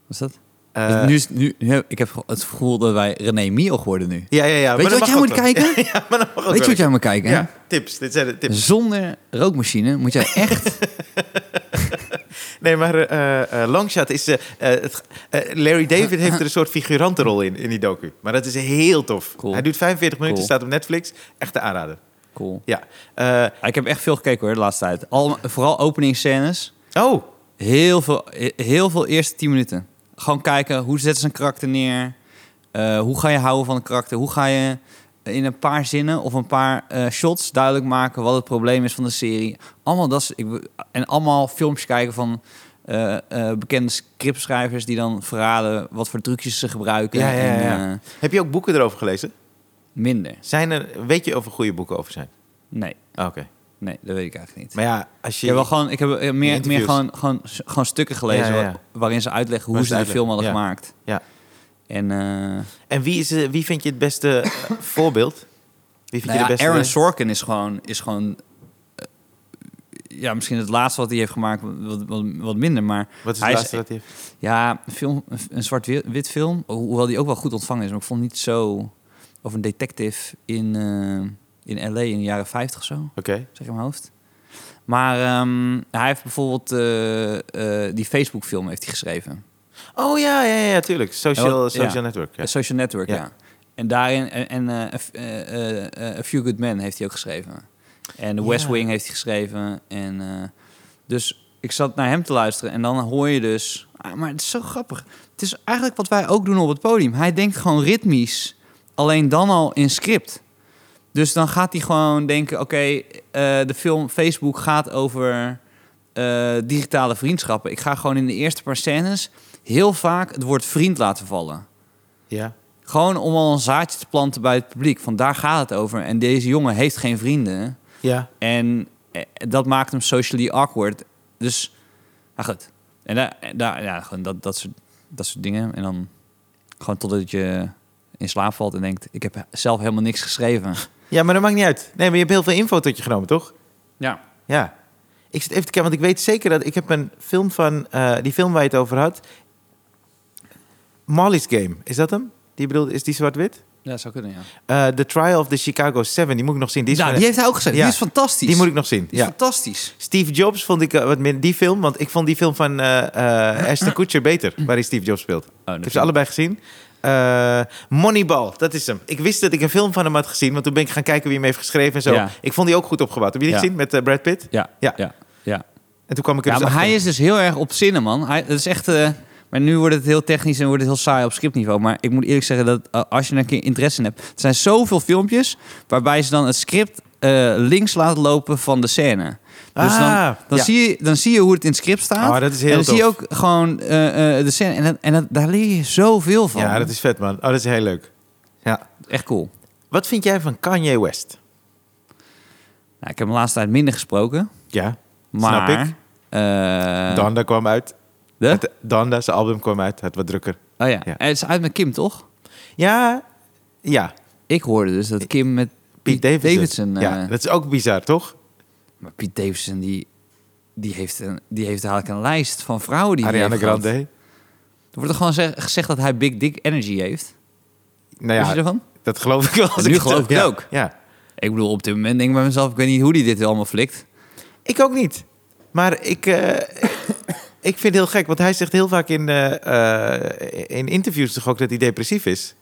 Wat is dat? Eh, Dus nu, is- nu, nu heb- ik heb ge- het gevoel dat wij René Miel worden nu. Ja, ja, ja. maar Weet je dat wat jij mag moet ook wel. kijken? Ja, maar dat mag ook Weet je wel. wat jij moet kijken? hè? Ja, tips. Dit zijn de tips. Zonder rookmachine moet jij echt... Nee, maar eh, eh, Longshot is... eh, eh, het, eh, Larry David heeft er een soort figurantenrol in, in die docu. Maar dat is heel tof. Cool. Hij duurt 45 minuten, Cool. staat op Netflix. Echte aanrader. cool. Ja. Eh, Ja, Ik heb echt veel gekeken hoor, de laatste tijd. Al, vooral openingsscènes. oh, Heel veel, he- heel veel eerste 10 minuten. Gewoon kijken, hoe zetten ze een karakter neer? Eh, hoe ga je houden van een karakter? Hoe ga je in een paar zinnen of een paar eh, shots duidelijk maken... wat het probleem is van de serie? Allemaal dat, is- ik, wil- en allemaal filmpjes kijken van eh, eh, bekende scriptschrijvers... die dan verraden wat voor trucjes ze gebruiken. Ja, ja, En, ja. eh, heb je ook boeken erover gelezen? minder. Zijn er, weet je of er goede boeken over zijn? Nee, Ah, Oké. nee, dat weet ik eigenlijk niet. Maar ja, als je... Ja, wel gewoon, ik heb eh, meer, meer interviews. gewoon, gewoon, gewoon stukken gelezen Ja, ja, ja. wa- waarin ze uitleggen hoe Waar ze ze de uitleggen, film hadden ja. gemaakt. Ja. En eh En wie, is, eh, wie vind je het beste eh, voorbeeld? Wie vind nou je ja, de beste... Aaron Sorkin is gewoon, is gewoon eh, ja, misschien het laatste wat hij heeft gemaakt, wat, wat, wat minder. Maar Wat is Hij het is- laatste dat hij heeft? ja, een, film, een- een zwart-wit film, ho- hoewel die ook wel goed ontvangen is. Maar ik vond het niet zo, of een detective in, eh, in L.A. in de jaren 50 of zo. Oké. zeg in mijn hoofd. Maar ehm, hij heeft bijvoorbeeld eh, eh, die Facebook-film heeft hij geschreven. Oh ja, ja, ja, tuurlijk. Social, Ja, wat- social ja. network. Ja. Eh, Social Network, Ja. ja. En daarin, en, en eh, A F- eh, eh, eh, A Few Good Men heeft hij ook geschreven. En The West Ja. Wing heeft hij geschreven. En, eh, dus ik zat naar hem te luisteren en dan hoor je dus... Ah, maar het is zo grappig. Het is eigenlijk wat wij ook doen op het podium. Hij denkt gewoon ritmisch, alleen dan al in script. Dus dan gaat hij gewoon denken, oké, eh, de film Facebook gaat over eh, digitale vriendschappen. Ik ga gewoon in de eerste paar scènes heel vaak het woord vriend laten vallen. ja. Gewoon om al een zaadje te planten bij het publiek. Van daar gaat het over. En deze jongen heeft geen vrienden. Ja. En eh, dat maakt hem socially awkward. Dus, nou goed. En daar, en daar, ja, gewoon dat, dat, soort, dat soort dingen. En dan gewoon totdat je in slaap valt en denkt... ik heb zelf helemaal niks geschreven. Ja, maar dat maakt niet uit. Nee, maar je hebt heel veel info tot je genomen, toch? Ja. Ja. Ik zit even te kijken, want ik weet zeker dat... Ik heb een film van... eh, die film waar je het over had. Molly's Game. Is dat hem? Die bedoelt, is die zwart-wit? Ja, zou kunnen, ja. Eh, the Trial of the Chicago Seven. Die moet ik nog zien. Die, is nou, van- die heeft hij ook geschreven. Ja. Die is fantastisch. die moet ik nog zien. Die is Ja. fantastisch. Steve Jobs vond ik eh, wat minder... Die film, want ik vond die film van eh, eh, Ashton Kutcher beter. Waar hij Steve Jobs Oh, speelt. Ik heb ze allebei gezien. Eh, Moneyball, dat is hem. Ik wist dat ik een film van hem had gezien, want toen ben ik gaan kijken wie hem heeft geschreven en zo. Ja. Ik vond die ook goed opgebouwd. Heb je die Ja. gezien met eh, Brad Pitt? Ja, Ja. ja, ja. ja. En toen kwam ik er Ja, dus maar hij achter. is dus heel erg op zinnen, man. Hij, dat is echt... eh, maar nu wordt het heel technisch en wordt het heel saai op scriptniveau. Maar ik moet eerlijk zeggen dat eh, als je er een keer interesse in hebt... Er zijn zoveel filmpjes waarbij ze dan het script eh, links laten lopen van de scène. Dus Ah, dan, dan, ja. zie je, dan zie je hoe het in het script staat. Oh, dat is heel en dan zie je tof. ook gewoon eh, eh, de scène. En, dat- en dat, daar leer je zoveel van. Ja, dat is vet, man. Oh, dat is heel leuk. Ja. Echt cool. Wat vind jij van Kanye West? Nou, ik heb de laatste tijd minder gesproken. Ja, Maar, snap ik. eh, Donda kwam uit. de- Het, Donda, zijn album kwam uit. Het wat drukker. oh ja. Ja. En het is uit met Kim, toch? Ja, Ja, Ik hoorde dus dat Kim met Piet Davidson. ja. ja, dat is ook bizar, toch? Maar Piet Davidson, die, die, heeft een, die heeft eigenlijk een lijst van vrouwen die hij Ariana heeft gehad. Grande. Er wordt er gewoon zeg- gezegd dat hij Big Dick Energy heeft. Nou Wist je ja, ervan? dat geloof ik wel. als Nu het geloof ik het ja, ook. Ja. Ik bedoel, op dit moment denk ik bij mezelf, ik weet niet hoe die dit allemaal flikt. Ik ook niet. Maar ik, eh, ik vind het heel gek, want hij zegt heel vaak in, eh, eh, in interviews toch ook dat hij depressief is.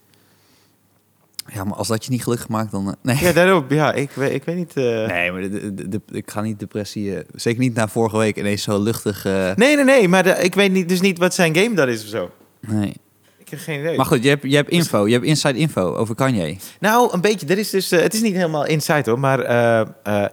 Ja, maar als dat je niet gelukkig maakt, dan... eh, nee. Ja, daarop. Ja, ik, weet- ik weet niet. eh. Nee. nee, maar de, de- de- de- ik ga niet depressie... eh, zeker niet na vorige week ineens zo luchtig... eh, nee, nee, maar de- ik weet niet, dus niet wat zijn game dan is of zo. nee. Ik heb geen idee. Maar goed, je hebt, je hebt info. Je hebt inside info over Kanye. Nou, een beetje. Er is dus, eh, het is niet helemaal insight hoor, maar eh, eh,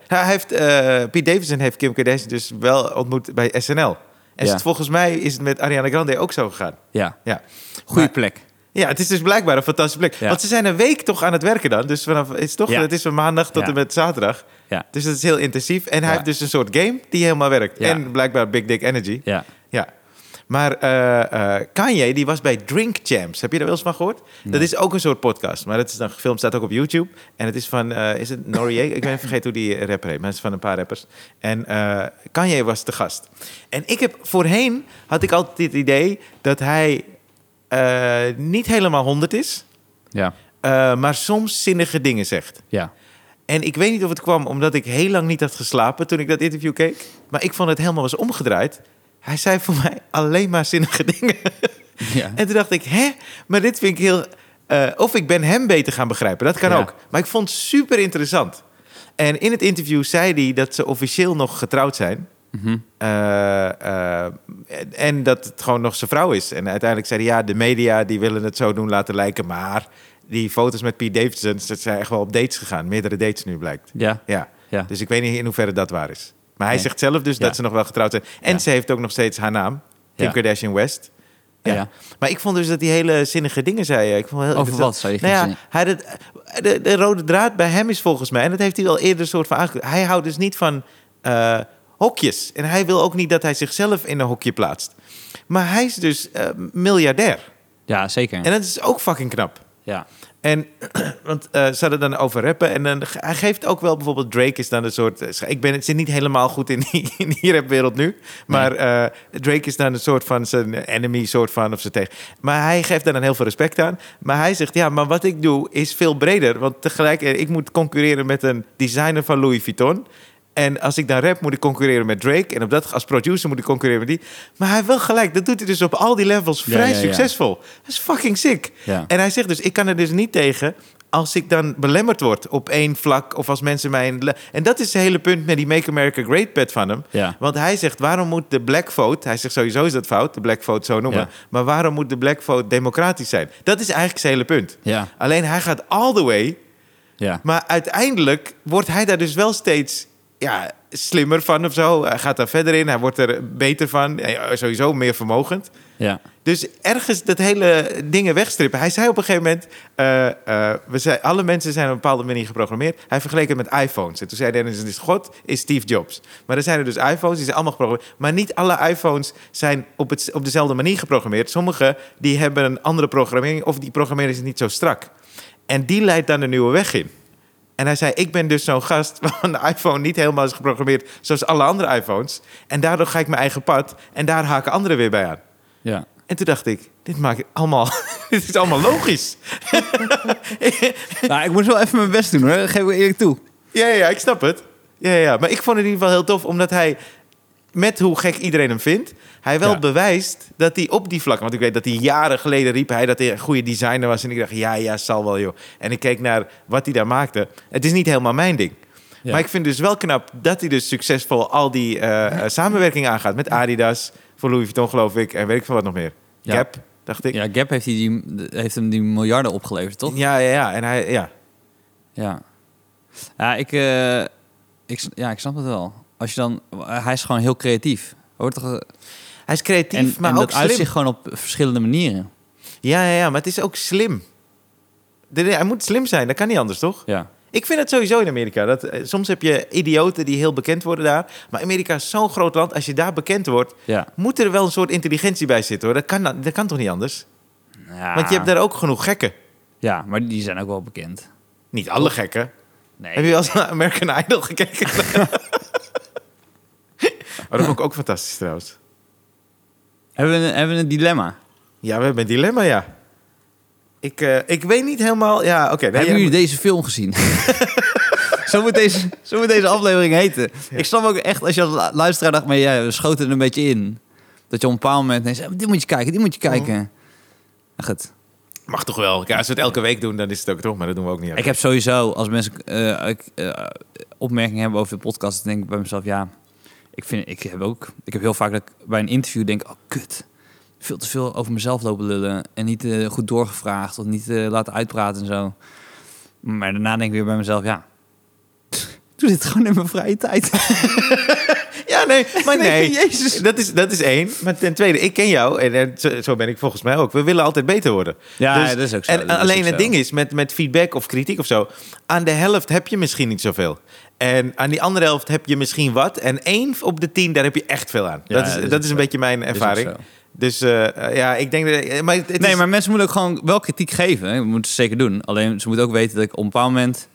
hij heeft, eh, Pete Davidson heeft Kim Kardashian dus wel ontmoet bij SNL. En Ja. volgens mij is het met Ariana Grande ook zo gegaan. Ja. Ja. Goeie Maar- plek. Ja, het is dus blijkbaar een fantastische plek. Ja. Want ze zijn een week toch aan het werken dan. Dus vanaf, het, is toch, Ja. het is van maandag tot Ja. en met zaterdag. Ja. Dus dat is heel intensief. En hij Ja. heeft dus een soort game die helemaal werkt. Ja. En blijkbaar Big Dick Energy. Ja. Ja. Maar eh, eh, Kanye, die was bij Drink Champs. Heb je daar wel eens van gehoord? Dat is ook een soort podcast. Maar dat is dan gefilmd, staat ook op YouTube. En het is van, eh, is het Noriega? ik ben vergeten hoe die rapper heet, maar het is van een paar rappers. En eh, Kanye was de gast. En ik heb, voorheen had ik altijd het idee dat hij eh, niet helemaal 100 is. Ja. eh, maar soms zinnige dingen zegt. Ja. En ik weet niet of het kwam omdat ik heel lang niet had geslapen toen ik dat interview keek. Maar ik vond het helemaal was omgedraaid. Hij zei voor mij alleen maar zinnige dingen. Ja. En toen dacht ik, hè? Maar dit vind ik heel... eh, of ik ben hem beter gaan begrijpen, dat kan Ja. ook. Maar ik vond het super interessant. En in het interview zei hij dat ze officieel nog getrouwd zijn. Mhm. Eh, eh, en- en dat het gewoon nog zijn vrouw is. En uiteindelijk zeiden ja, de media die willen het zo doen laten lijken. Maar die foto's met Pete Davidson, ze zijn echt wel op dates gegaan. Meerdere dates nu blijkt. Ja. Ja. Ja. Dus ik weet niet in hoeverre dat waar is. Maar hij Nee. zegt zelf dus Ja. dat ze nog wel getrouwd zijn. En Ja. ze heeft ook nog steeds haar naam. Kim Ja. Kardashian West. Ja. Ja. Maar ik vond dus dat hij hele zinnige dingen zei. Ik vond heel Over wat zei zei je? hij Nou ja, geen hij had het- de, de rode draad bij hem is volgens mij... en dat heeft hij wel eerder soort van aange... hij houdt dus niet van eh, hokjes. En hij wil ook niet dat hij zichzelf in een hokje plaatst. Maar hij is dus eh, miljardair. Ja, zeker. En dat is ook fucking knap. Ja. En, want eh, ze hadden dan over rappen. En dan, ge- hij geeft ook wel bijvoorbeeld Drake is dan een soort... eh, sch- Ik ben, het zit niet helemaal goed in die, in die rapwereld nu. Maar eh, Drake is dan een soort van zijn enemy, soort van of zijn tegen. Maar hij geeft daar dan heel veel respect aan. Maar hij zegt, ja, maar wat ik doe is veel breder. Want tegelijk, eh, ik moet concurreren met een designer van Louis Vuitton. En als ik dan rap, moet ik concurreren met Drake. En op dat, als producer moet ik concurreren met die. Maar hij heeft wel gelijk. Dat doet hij dus op al die levels Ja, vrij ja, ja. succesvol. Dat is fucking sick. Ja. En hij zegt dus, ik kan er dus niet tegen als ik dan belemmerd word op één vlak of als mensen mij... een le- En dat is het hele punt met die Make America Great pad van hem. Ja. Want hij zegt, waarom moet de black vote... Hij zegt, sowieso is dat fout, de black vote zo noemen. Ja. Maar waarom moet de black vote democratisch zijn? Dat is eigenlijk zijn hele punt. Ja. Alleen hij gaat all the way, Ja. maar uiteindelijk wordt hij daar dus wel steeds ja, slimmer van of zo. Hij gaat daar verder in, hij wordt er beter van, eh, sowieso meer vermogend. Ja. Dus ergens dat hele dingen wegstrippen. Hij zei op een gegeven moment: eh, eh, we zijn, alle mensen zijn op een bepaalde manier geprogrammeerd. Hij vergeleek het met iPhones. En toen zei Dennis: is God is Steve Jobs. Maar er zijn er dus iPhones, die zijn allemaal geprogrammeerd. Maar niet alle iPhones zijn op, het, op dezelfde manier geprogrammeerd. Sommige die hebben een andere programmering of die programmering is niet zo strak. En die leidt dan de nieuwe weg in. En hij zei, ik ben dus zo'n gast waarvan de iPhone niet helemaal is geprogrammeerd zoals alle andere iPhones. En daardoor ga ik mijn eigen pad en daar haken anderen weer bij aan. Ja. En toen dacht ik, dit maakt allemaal, dit is allemaal logisch. Nou, ik moest wel even mijn best doen hoor. Dat geef ik eerlijk toe. ja, ja, ja, ik snap het. Ja, ja, ja, maar ik vond het in ieder geval heel tof, omdat hij, met hoe gek iedereen hem vindt, hij wel Ja. bewijst dat hij op die vlakken, want ik weet dat hij jaren geleden riep hij dat hij een goede designer was. En ik dacht, ja, ja, zal wel joh. En ik keek naar wat hij daar maakte. Het is niet helemaal mijn ding. Ja. Maar ik vind dus wel knap dat hij dus succesvol al die eh, eh, samenwerking aangaat met Adidas, voor Louis Vuitton geloof ik, en weet ik veel wat nog meer. Ja. Gap, dacht ik. Ja, Gap heeft, die, die- heeft hem die miljarden opgeleverd, toch? ja, ja, ja. En hij, ja. Ja. Ja, ik, eh, ik, s- ja, ik snap het wel. Als je dan, hij is gewoon heel creatief. Hoort toch, eh, Hij is creatief, en maar en ook dat slim. uitzicht gewoon op verschillende manieren. Ja, ja, ja, maar het is ook slim. De- de- Hij moet slim zijn, dat kan niet anders, toch? Ja. Ik vind het sowieso in Amerika. Dat, eh, soms heb je idioten die heel bekend worden daar. Maar Amerika is zo'n groot land. Als je daar bekend wordt, Ja. moet er wel een soort intelligentie bij zitten. Hoor. Dat, kan, dat kan toch niet anders? ja. Want je hebt daar ook genoeg gekken. Ja, maar die zijn ook wel bekend. Niet alle gekken. Nee. Heb je wel eens naar American Idol gekeken? oh, dat vond ik ook fantastisch trouwens. Hebben, we een, hebben we een dilemma? Ja, we hebben een dilemma, ja. Ik, eh, ik weet niet helemaal... Ja, oké. nee, hebben ja, jullie deze film gezien? zo, moet deze, zo moet deze aflevering heten. Ik snap ook echt, als je als lu- luisteraar dacht, maar ja, we schoten er een beetje in. Dat je op een bepaald moment ineens, "Ah, dit moet je kijken, dit moet je kijken. Nou, goed. Mag toch wel. Ja, als we het elke week doen, dan is het ook toch. Maar dat doen we ook niet. Ik heb sowieso, als mensen eh, ik, eh, opmerkingen hebben over de podcast, dan denk ik bij mezelf, ja, ik, vind, ik heb ook, ik heb heel vaak dat ik bij een interview denk, oh kut, veel te veel over mezelf lopen lullen en niet eh, goed doorgevraagd of niet eh, laten uitpraten en zo. Maar daarna denk ik weer bij mezelf, ja, doe dit gewoon in mijn vrije tijd. Ja, nee, maar nee. Nee, Jezus. Dat is, dat is één. Maar ten tweede, ik ken jou en, en zo, zo ben ik volgens mij ook. We willen altijd beter worden. Ja, ja, dat is ook zo, Dus En dat is alleen ook het zo. ding is, met, met feedback of kritiek of zo... aan de helft heb je misschien niet zoveel. En aan die andere helft heb je misschien wat. En één op de tien, daar heb je echt veel aan. Ja, dat is, dat dat is is, ook een zo. beetje mijn is ook ervaring. zo. Dus eh, eh, ja, ik denk... Dat, eh, maar het, het nee, is- maar mensen moeten ook gewoon wel kritiek geven. hè. Dat moeten ze zeker doen. Alleen ze moeten ook weten dat ik op een bepaald moment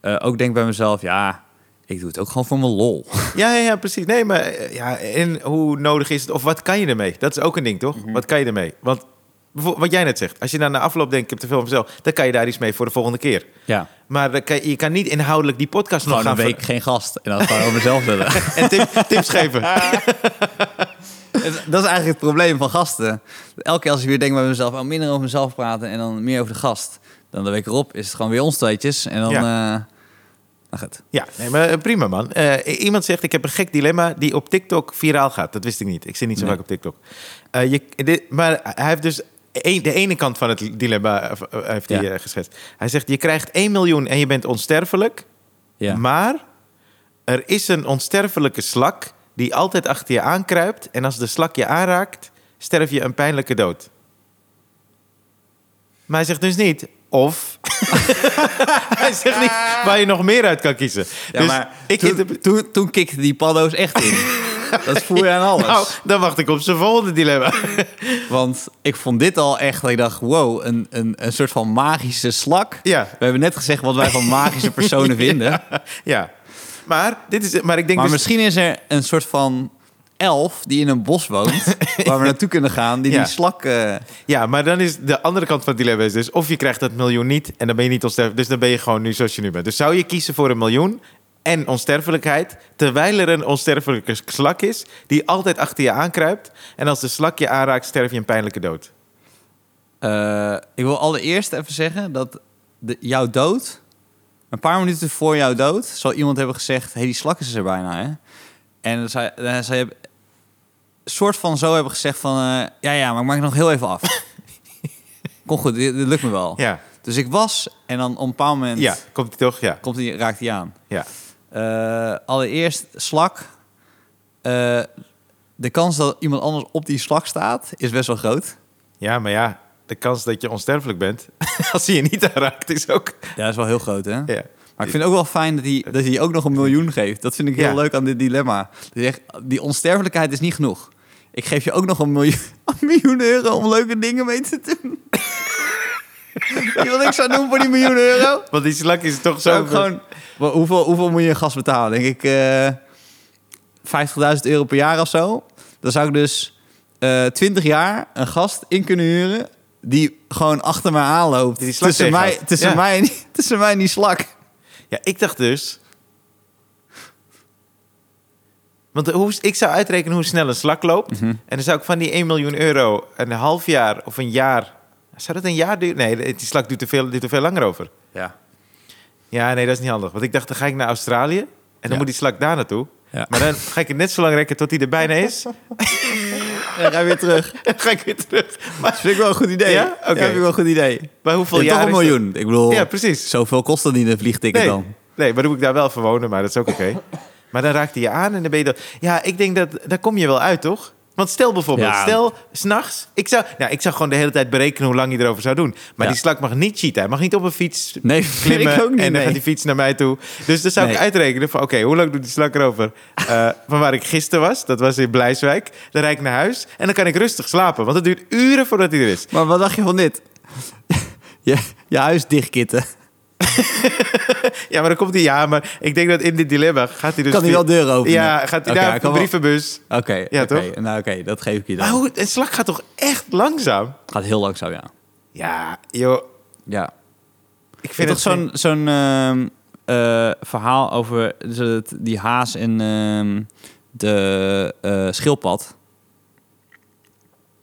eh, ook denk bij mezelf, ja, ik doe het ook gewoon voor mijn lol. Ja, ja, ja, precies. Nee, maar eh, ja, en hoe nodig is het? Of wat kan je ermee? Dat is ook een ding, toch? Mhm. Wat kan je ermee? Want bijvo- wat jij net zegt, als je dan na afloop denkt, ik heb te veel van mezelf... dan kan je daar iets mee voor de volgende keer. Ja. Maar dan kan je, je kan niet inhoudelijk die podcast nog Gewoon een gaan... week geen gast en dan gewoon over mezelf willen. ver- En tip- tips geven. Dat is eigenlijk het probleem van gasten. Elke keer als ik weer denk bij mezelf, oh, minder over mezelf praten en dan meer over de gast. Dan de week erop is het gewoon weer ons tweetjes en dan... Ja. eh, nou goed. Ja, nee, maar eh, prima man. Eh, iemand zegt, ik heb een gek dilemma die op TikTok viraal gaat. Dat wist ik niet. Ik zit niet zo Nee. vaak op TikTok. Eh, je, dit- maar hij heeft dus een- de ene kant van het dilemma eh, eh, heeft hij Ja. eh, geschetst. Hij zegt, je krijgt 1 miljoen en je bent onsterfelijk. Ja. Maar er is een onsterfelijke slak die altijd achter je aankruipt. En als de slak je aanraakt, sterf je een pijnlijke dood. Maar hij zegt dus niet of. hij zegt niet waar je nog meer uit kan kiezen. Ja, dus maar ik toen, interpre- toen, toen kikten die paddo's echt in. Dat voel je aan alles. Nou, dan wacht ik op zijn volgende dilemma. Want ik vond dit al echt, dat ik dacht, wow, een, een, een soort van magische slak. Ja. We hebben net gezegd wat wij van magische personen vinden. ja. Maar, dit is, maar ik denk Maar dus... misschien is er een soort van elf die in een bos woont, waar we naartoe kunnen gaan, die Ja. die slak... eh, Ja, maar dan is de andere kant van het dilemma is dus... of je krijgt dat miljoen niet en dan ben je niet onsterfelijk. Dus dan ben je gewoon nu zoals je nu bent. Dus zou je kiezen voor een miljoen en onsterfelijkheid... terwijl er een onsterfelijke slak is die altijd achter je aankruipt... en als de slak je aanraakt, sterf je een pijnlijke dood. eh, ik wil allereerst even zeggen dat de, jouw dood, een paar minuten voor jouw dood, zal iemand hebben gezegd, hey, die slak is er bijna, hè? En dan zou, je- dan zou je soort van zo hebben gezegd van, eh, ja, ja, maar ik maak het nog heel even af. Kom goed, dit, dit lukt me wel. Ja, Dus ik was en dan op een bepaald moment ja komt die toch? Ja, komt die, raakt hij aan. ja. Eh, allereerst slak. Eh, de kans dat iemand anders op die slak staat is best wel groot. ja maar ja, de kans dat je onsterfelijk bent... als hij je niet aanraakt, is ook... Ja, is wel heel groot, hè? Ja. Maar ik vind het ook wel fijn dat hij, dat hij ook nog een miljoen geeft. Dat vind ik heel Ja. leuk aan dit dilemma. Dat hij zegt, die onsterfelijkheid is niet genoeg. Ik geef je ook nog een miljoen, een miljoen euro om leuke dingen mee te doen. Weet je wat ik zou doen voor die miljoen euro? Want die slak is toch Zou zo... ik gewoon, Wa- hoeveel, hoeveel moet je een gast betalen? Denk ik eh 50.000 euro per jaar of zo. Dan zou ik dus eh 20 jaar een gast in kunnen huren... die gewoon achter mij aanloopt. Die die slak tussen, mij, tegenhoudt. tussen, Ja. mij, en die- tussen mij en die slak. Ja, ik dacht dus. Want hoe, ik zou uitrekenen hoe snel een slak loopt. Mhm. En dan zou ik van die 1 miljoen euro een half jaar of een jaar. Zou dat een jaar duren? Nee, die slak duurt te veel, duurt te veel langer over. Ja. Ja, nee, dat is niet handig. Want ik dacht, dan ga ik naar Australië. En dan Ja. moet die slak daar naartoe. Ja. Maar dan ga ik het net zo lang rekken tot hij er bijna is. en eh, Dan ga je weer terug. dan ga ik weer terug. Maar, Dat vind ik wel een goed idee. Ja? Oké. vind ik wel een goed idee. maar hoeveel Ja, jaar toch een is dat? miljoen. Ik bedoel, Ja, precies. zoveel kost dat niet een vliegticket Nee, dan. nee, maar dan moet ik daar wel voor wonen, maar dat is ook oké. maar dan raakt hij je aan en dan ben je... dat- Ja, ik denk dat... Daar kom je wel uit, toch? Want stel bijvoorbeeld, Ja. stel, s'nachts... Ik zou, nou, ik zou gewoon de hele tijd berekenen hoe lang hij erover zou doen. Maar Ja. die slak mag niet cheaten. Hij mag niet op een fiets Nee, vind klimmen ik ook niet. en dan nee. gaat die fiets naar mij toe. Dus dan zou ik Nee. uitrekenen van... Oké, hoe lang doet die slak erover? Eh, van waar ik gisteren was, dat was in Blijswijk. Dan rijd ik naar huis en dan kan ik rustig slapen. Want het duurt uren voordat hij er is. Maar wat dacht je van dit? je, je huis dichtkitten. Ja, maar dan komt hij. Ja, maar ik denk dat in dit dilemma gaat hij dus. Kan hij wel via- deuren openen? Ja, gaat hij Oké, naar hij een kan wel- brievenbus. Oké, Ja, oké. toch? nou oké, dat geef ik je dan. Maar hoe, het slak gaat toch echt langzaam? Gaat heel langzaam, ja. Ja, joh. Ja. Ik Ik vind toch het zo'n zo'n. zo'n ehm, eh, verhaal over dus het- die haas en ehm, de eh, schildpad.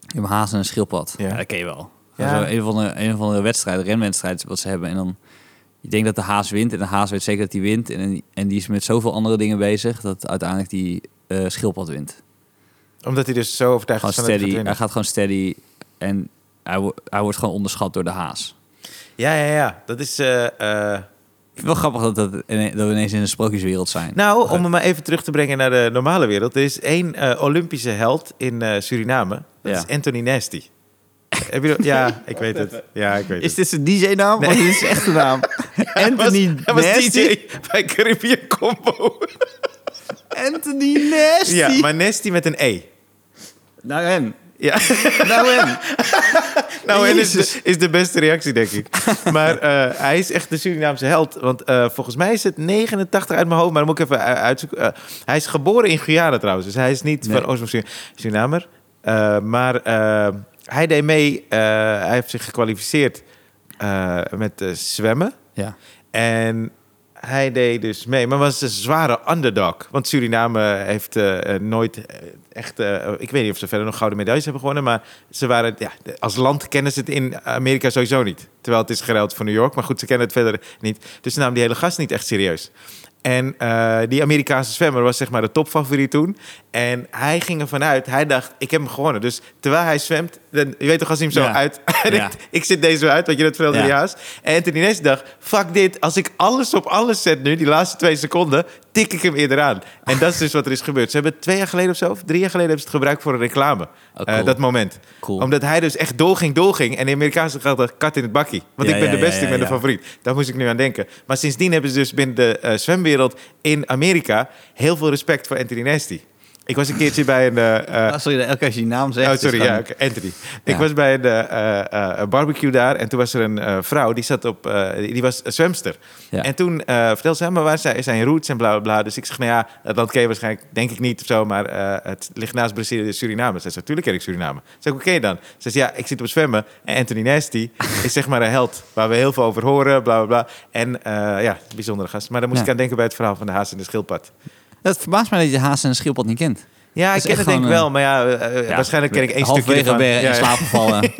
Je hebt een haas en een schildpad. Ja. Ja. dat ken je wel. Ja. Zo een, of andere, een of andere wedstrijd, renwedstrijd, wat ze hebben. En dan, je denkt dat de haas wint en de haas weet zeker dat hij wint. En, en die is met zoveel andere dingen bezig dat uiteindelijk die eh, schildpad wint. Omdat hij dus zo overtuigd Gewoon is van dat hij steady, gaat hij winnen. gaat gewoon steady en hij, wo- hij wordt gewoon onderschat door de haas. Ja, ja, ja. Dat is. eh, eh, Ik vind het wel grappig dat, dat, ine- dat we ineens in een sprookjeswereld zijn. Nou, om hem maar even terug te brengen naar de normale wereld. Er is één eh, Olympische held in eh, Suriname. Dat Ja. is Anthony Nasty. Heb je dat- Ja, ik weet het. Ja, ik weet Is het. dit zijn DJ-naam? Of is het echt een naam? Anthony Hij was, hij was Nasty. DJ bij Caribbean Combo. Anthony Nasty. ja, maar Nasty met een E. Nou en. Ja. Nou en. Nou, en is de, Jezus. is de beste reactie, denk ik. Maar eh, hij is echt de Surinaamse held. Want eh, volgens mij is het 89 uit mijn hoofd, maar dan moet ik even eh, uitzoeken. Eh, hij is geboren in Guyana trouwens, dus hij is niet Nee. van oorsprong Surin- Surinamer. Eh, maar eh, hij deed mee, eh, hij heeft zich gekwalificeerd eh, met eh, zwemmen. Ja. En hij deed dus mee, maar was een zware underdog. Want Suriname heeft eh, eh, nooit eh, echt... eh, ik weet niet of ze verder nog gouden medailles hebben gewonnen... maar ze waren, ja, de- als land kennen ze het in Amerika sowieso niet. Terwijl het is gereld voor New York, maar goed, ze kennen het verder niet. Dus ze namen die hele gast niet echt serieus. En eh, die Amerikaanse zwemmer was zeg maar de topfavoriet toen. En hij ging ervan uit, hij dacht, ik heb hem gewonnen. Dus terwijl hij zwemt, dan, je weet toch als hij hem zo Ja. uit... hij Ja. denkt, Ik zit deze wel uit, want je dat vertelde Ja. die haast. En Anthony Ness dacht, fuck dit, als ik alles op alles zet nu, die laatste twee seconden, tik ik hem eerder aan. En dat is dus wat er is gebeurd. Ze hebben twee jaar geleden of zo, of drie jaar geleden, hebben ze het gebruikt voor een reclame. Oh, cool. Eh, dat moment. Cool. Omdat hij dus echt doorging, doorging. En de Amerikaanse gaat dacht, kat in het bakkie. Want Ja, ik ben ja, de beste, ja, ik ben ja, de ja. favoriet. Daar moest ik nu aan denken. Maar sindsdien hebben ze dus binnen de eh, zwemwereld in Amerika heel veel respect voor Anthony Nasty. Ik was een keertje bij een... eh, eh, Ah, sorry, elke keer als je die naam zegt. Oh, is sorry, gewoon- ja, oké, Anthony. Ik Ja. was bij een eh, eh, eh, barbecue daar en toen was er een eh, vrouw die zat op, eh, die, die was een zwemster. Ja. En toen eh, vertelde ze, "Ja, maar waar zijn, zijn roots en bla bla bla. Dus ik zeg, nou ja, dat land ken je waarschijnlijk, denk ik niet of zo, maar eh, het ligt naast Brazilië en Suriname. Ze zei, natuurlijk ken ik Suriname. Ze zei, hoe ken je dan? Ze zei, ja, ik zit op zwemmen en Anthony Nasty is zeg maar een held waar we heel veel over horen, bla bla bla. En eh, ja, bijzondere gast. Maar daar moest Ja. ik aan denken bij het verhaal van de haas en de schildpad. Dat verbaast mij dat je haas en een schildpad niet kent. Ja, ik is ken echt het denk ik gewoon, eh, wel, maar ja, eh, eh, Ja, waarschijnlijk ken ik één stukje Halverwege ervan. ben je Ja, in ja. slaap gevallen.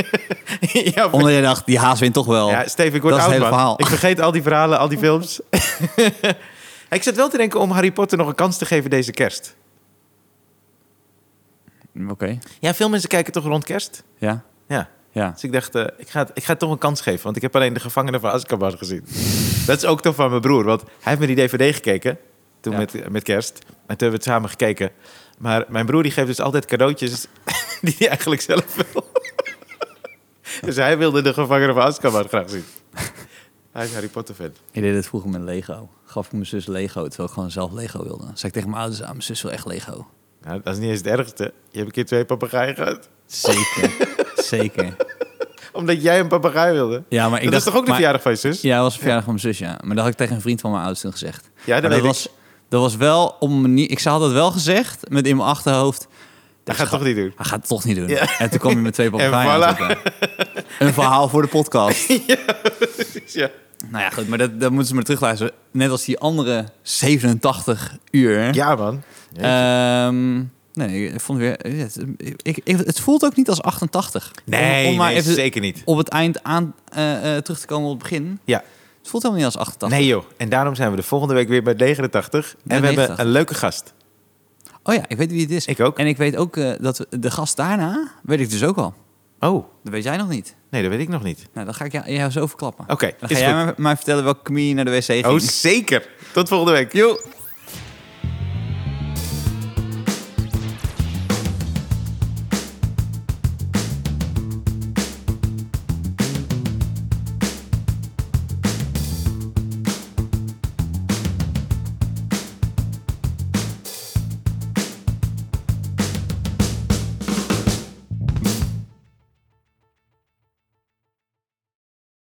ja, omdat je dacht, die haas wint toch wel. Ja, Steve, ik word Dat is oud, het hele man. verhaal. Ik vergeet al die verhalen, al die films. ik zat wel te denken om Harry Potter nog een kans te geven deze kerst. Mm, Oké. Ja, veel mensen kijken toch rond kerst? Ja. Ja. Ja. Dus ik dacht, eh, ik, ga het, ik ga het toch een kans geven. Want ik heb alleen de gevangenen van Azkaban gezien. Dat is ook toch van mijn broer. Want hij heeft me die dvd gekeken. Toen Ja. met, met kerst. En toen hebben we het samen gekeken. Maar mijn broer die geeft dus altijd cadeautjes die hij eigenlijk zelf wil. dus hij wilde de gevangenen van Azkaban graag zien. Hij is Harry Potter fan. Ik deed het vroeger met Lego. Gaf ik mijn zus Lego, terwijl ik gewoon zelf Lego wilde. Zei ik tegen mijn ouders, ah, mijn zus wil echt Lego. Nou, dat is niet eens het ergste. Je hebt een keer twee papegaaien gehad. Zeker. Zeker. Omdat jij een papegaai wilde. Ja, maar ik dat dacht, is toch ook de maar- verjaardag van je zus? Ja, dat was een verjaardag van mijn zus, ja. Maar dat had ik tegen een vriend van mijn ouders toen gezegd. Ja, dat Maar weet ik. was, dat was wel om me niet... Ik had dat wel gezegd, met in mijn achterhoofd. dat gaat toch niet doen. Hij gaat het toch niet doen. Ja. En toen kwam je met twee papagaaien voilà. aanzetten. Een verhaal voor de podcast. Ja. nou ja, goed, maar dat, dat moeten ze maar terugluisteren. Net als die andere 87 uur. ja, man. Ehm, nee, ik vond weer... Het, ik, ik- het voelt ook niet als 88. nee, Om- om maar nee, even zeker niet. Op het eind aan, eh, eh, terug te komen op het begin. Ja. Het voelt helemaal niet als 88. Nee joh. En daarom zijn we de volgende week weer bij 89. En Bij we 89. hebben een leuke gast. Oh ja, ik weet wie het is. Ik ook. En ik weet ook eh, dat we- de gast daarna, weet ik dus ook al. Oh, Dat weet jij nog niet. nee, dat weet ik nog niet. Nou, dan ga ik jou, jou zo verklappen. Oké, dan is ga jij goed. mij, mij vertellen welke comedian naar de wc ging. Oh, zeker. Tot volgende week. Joe.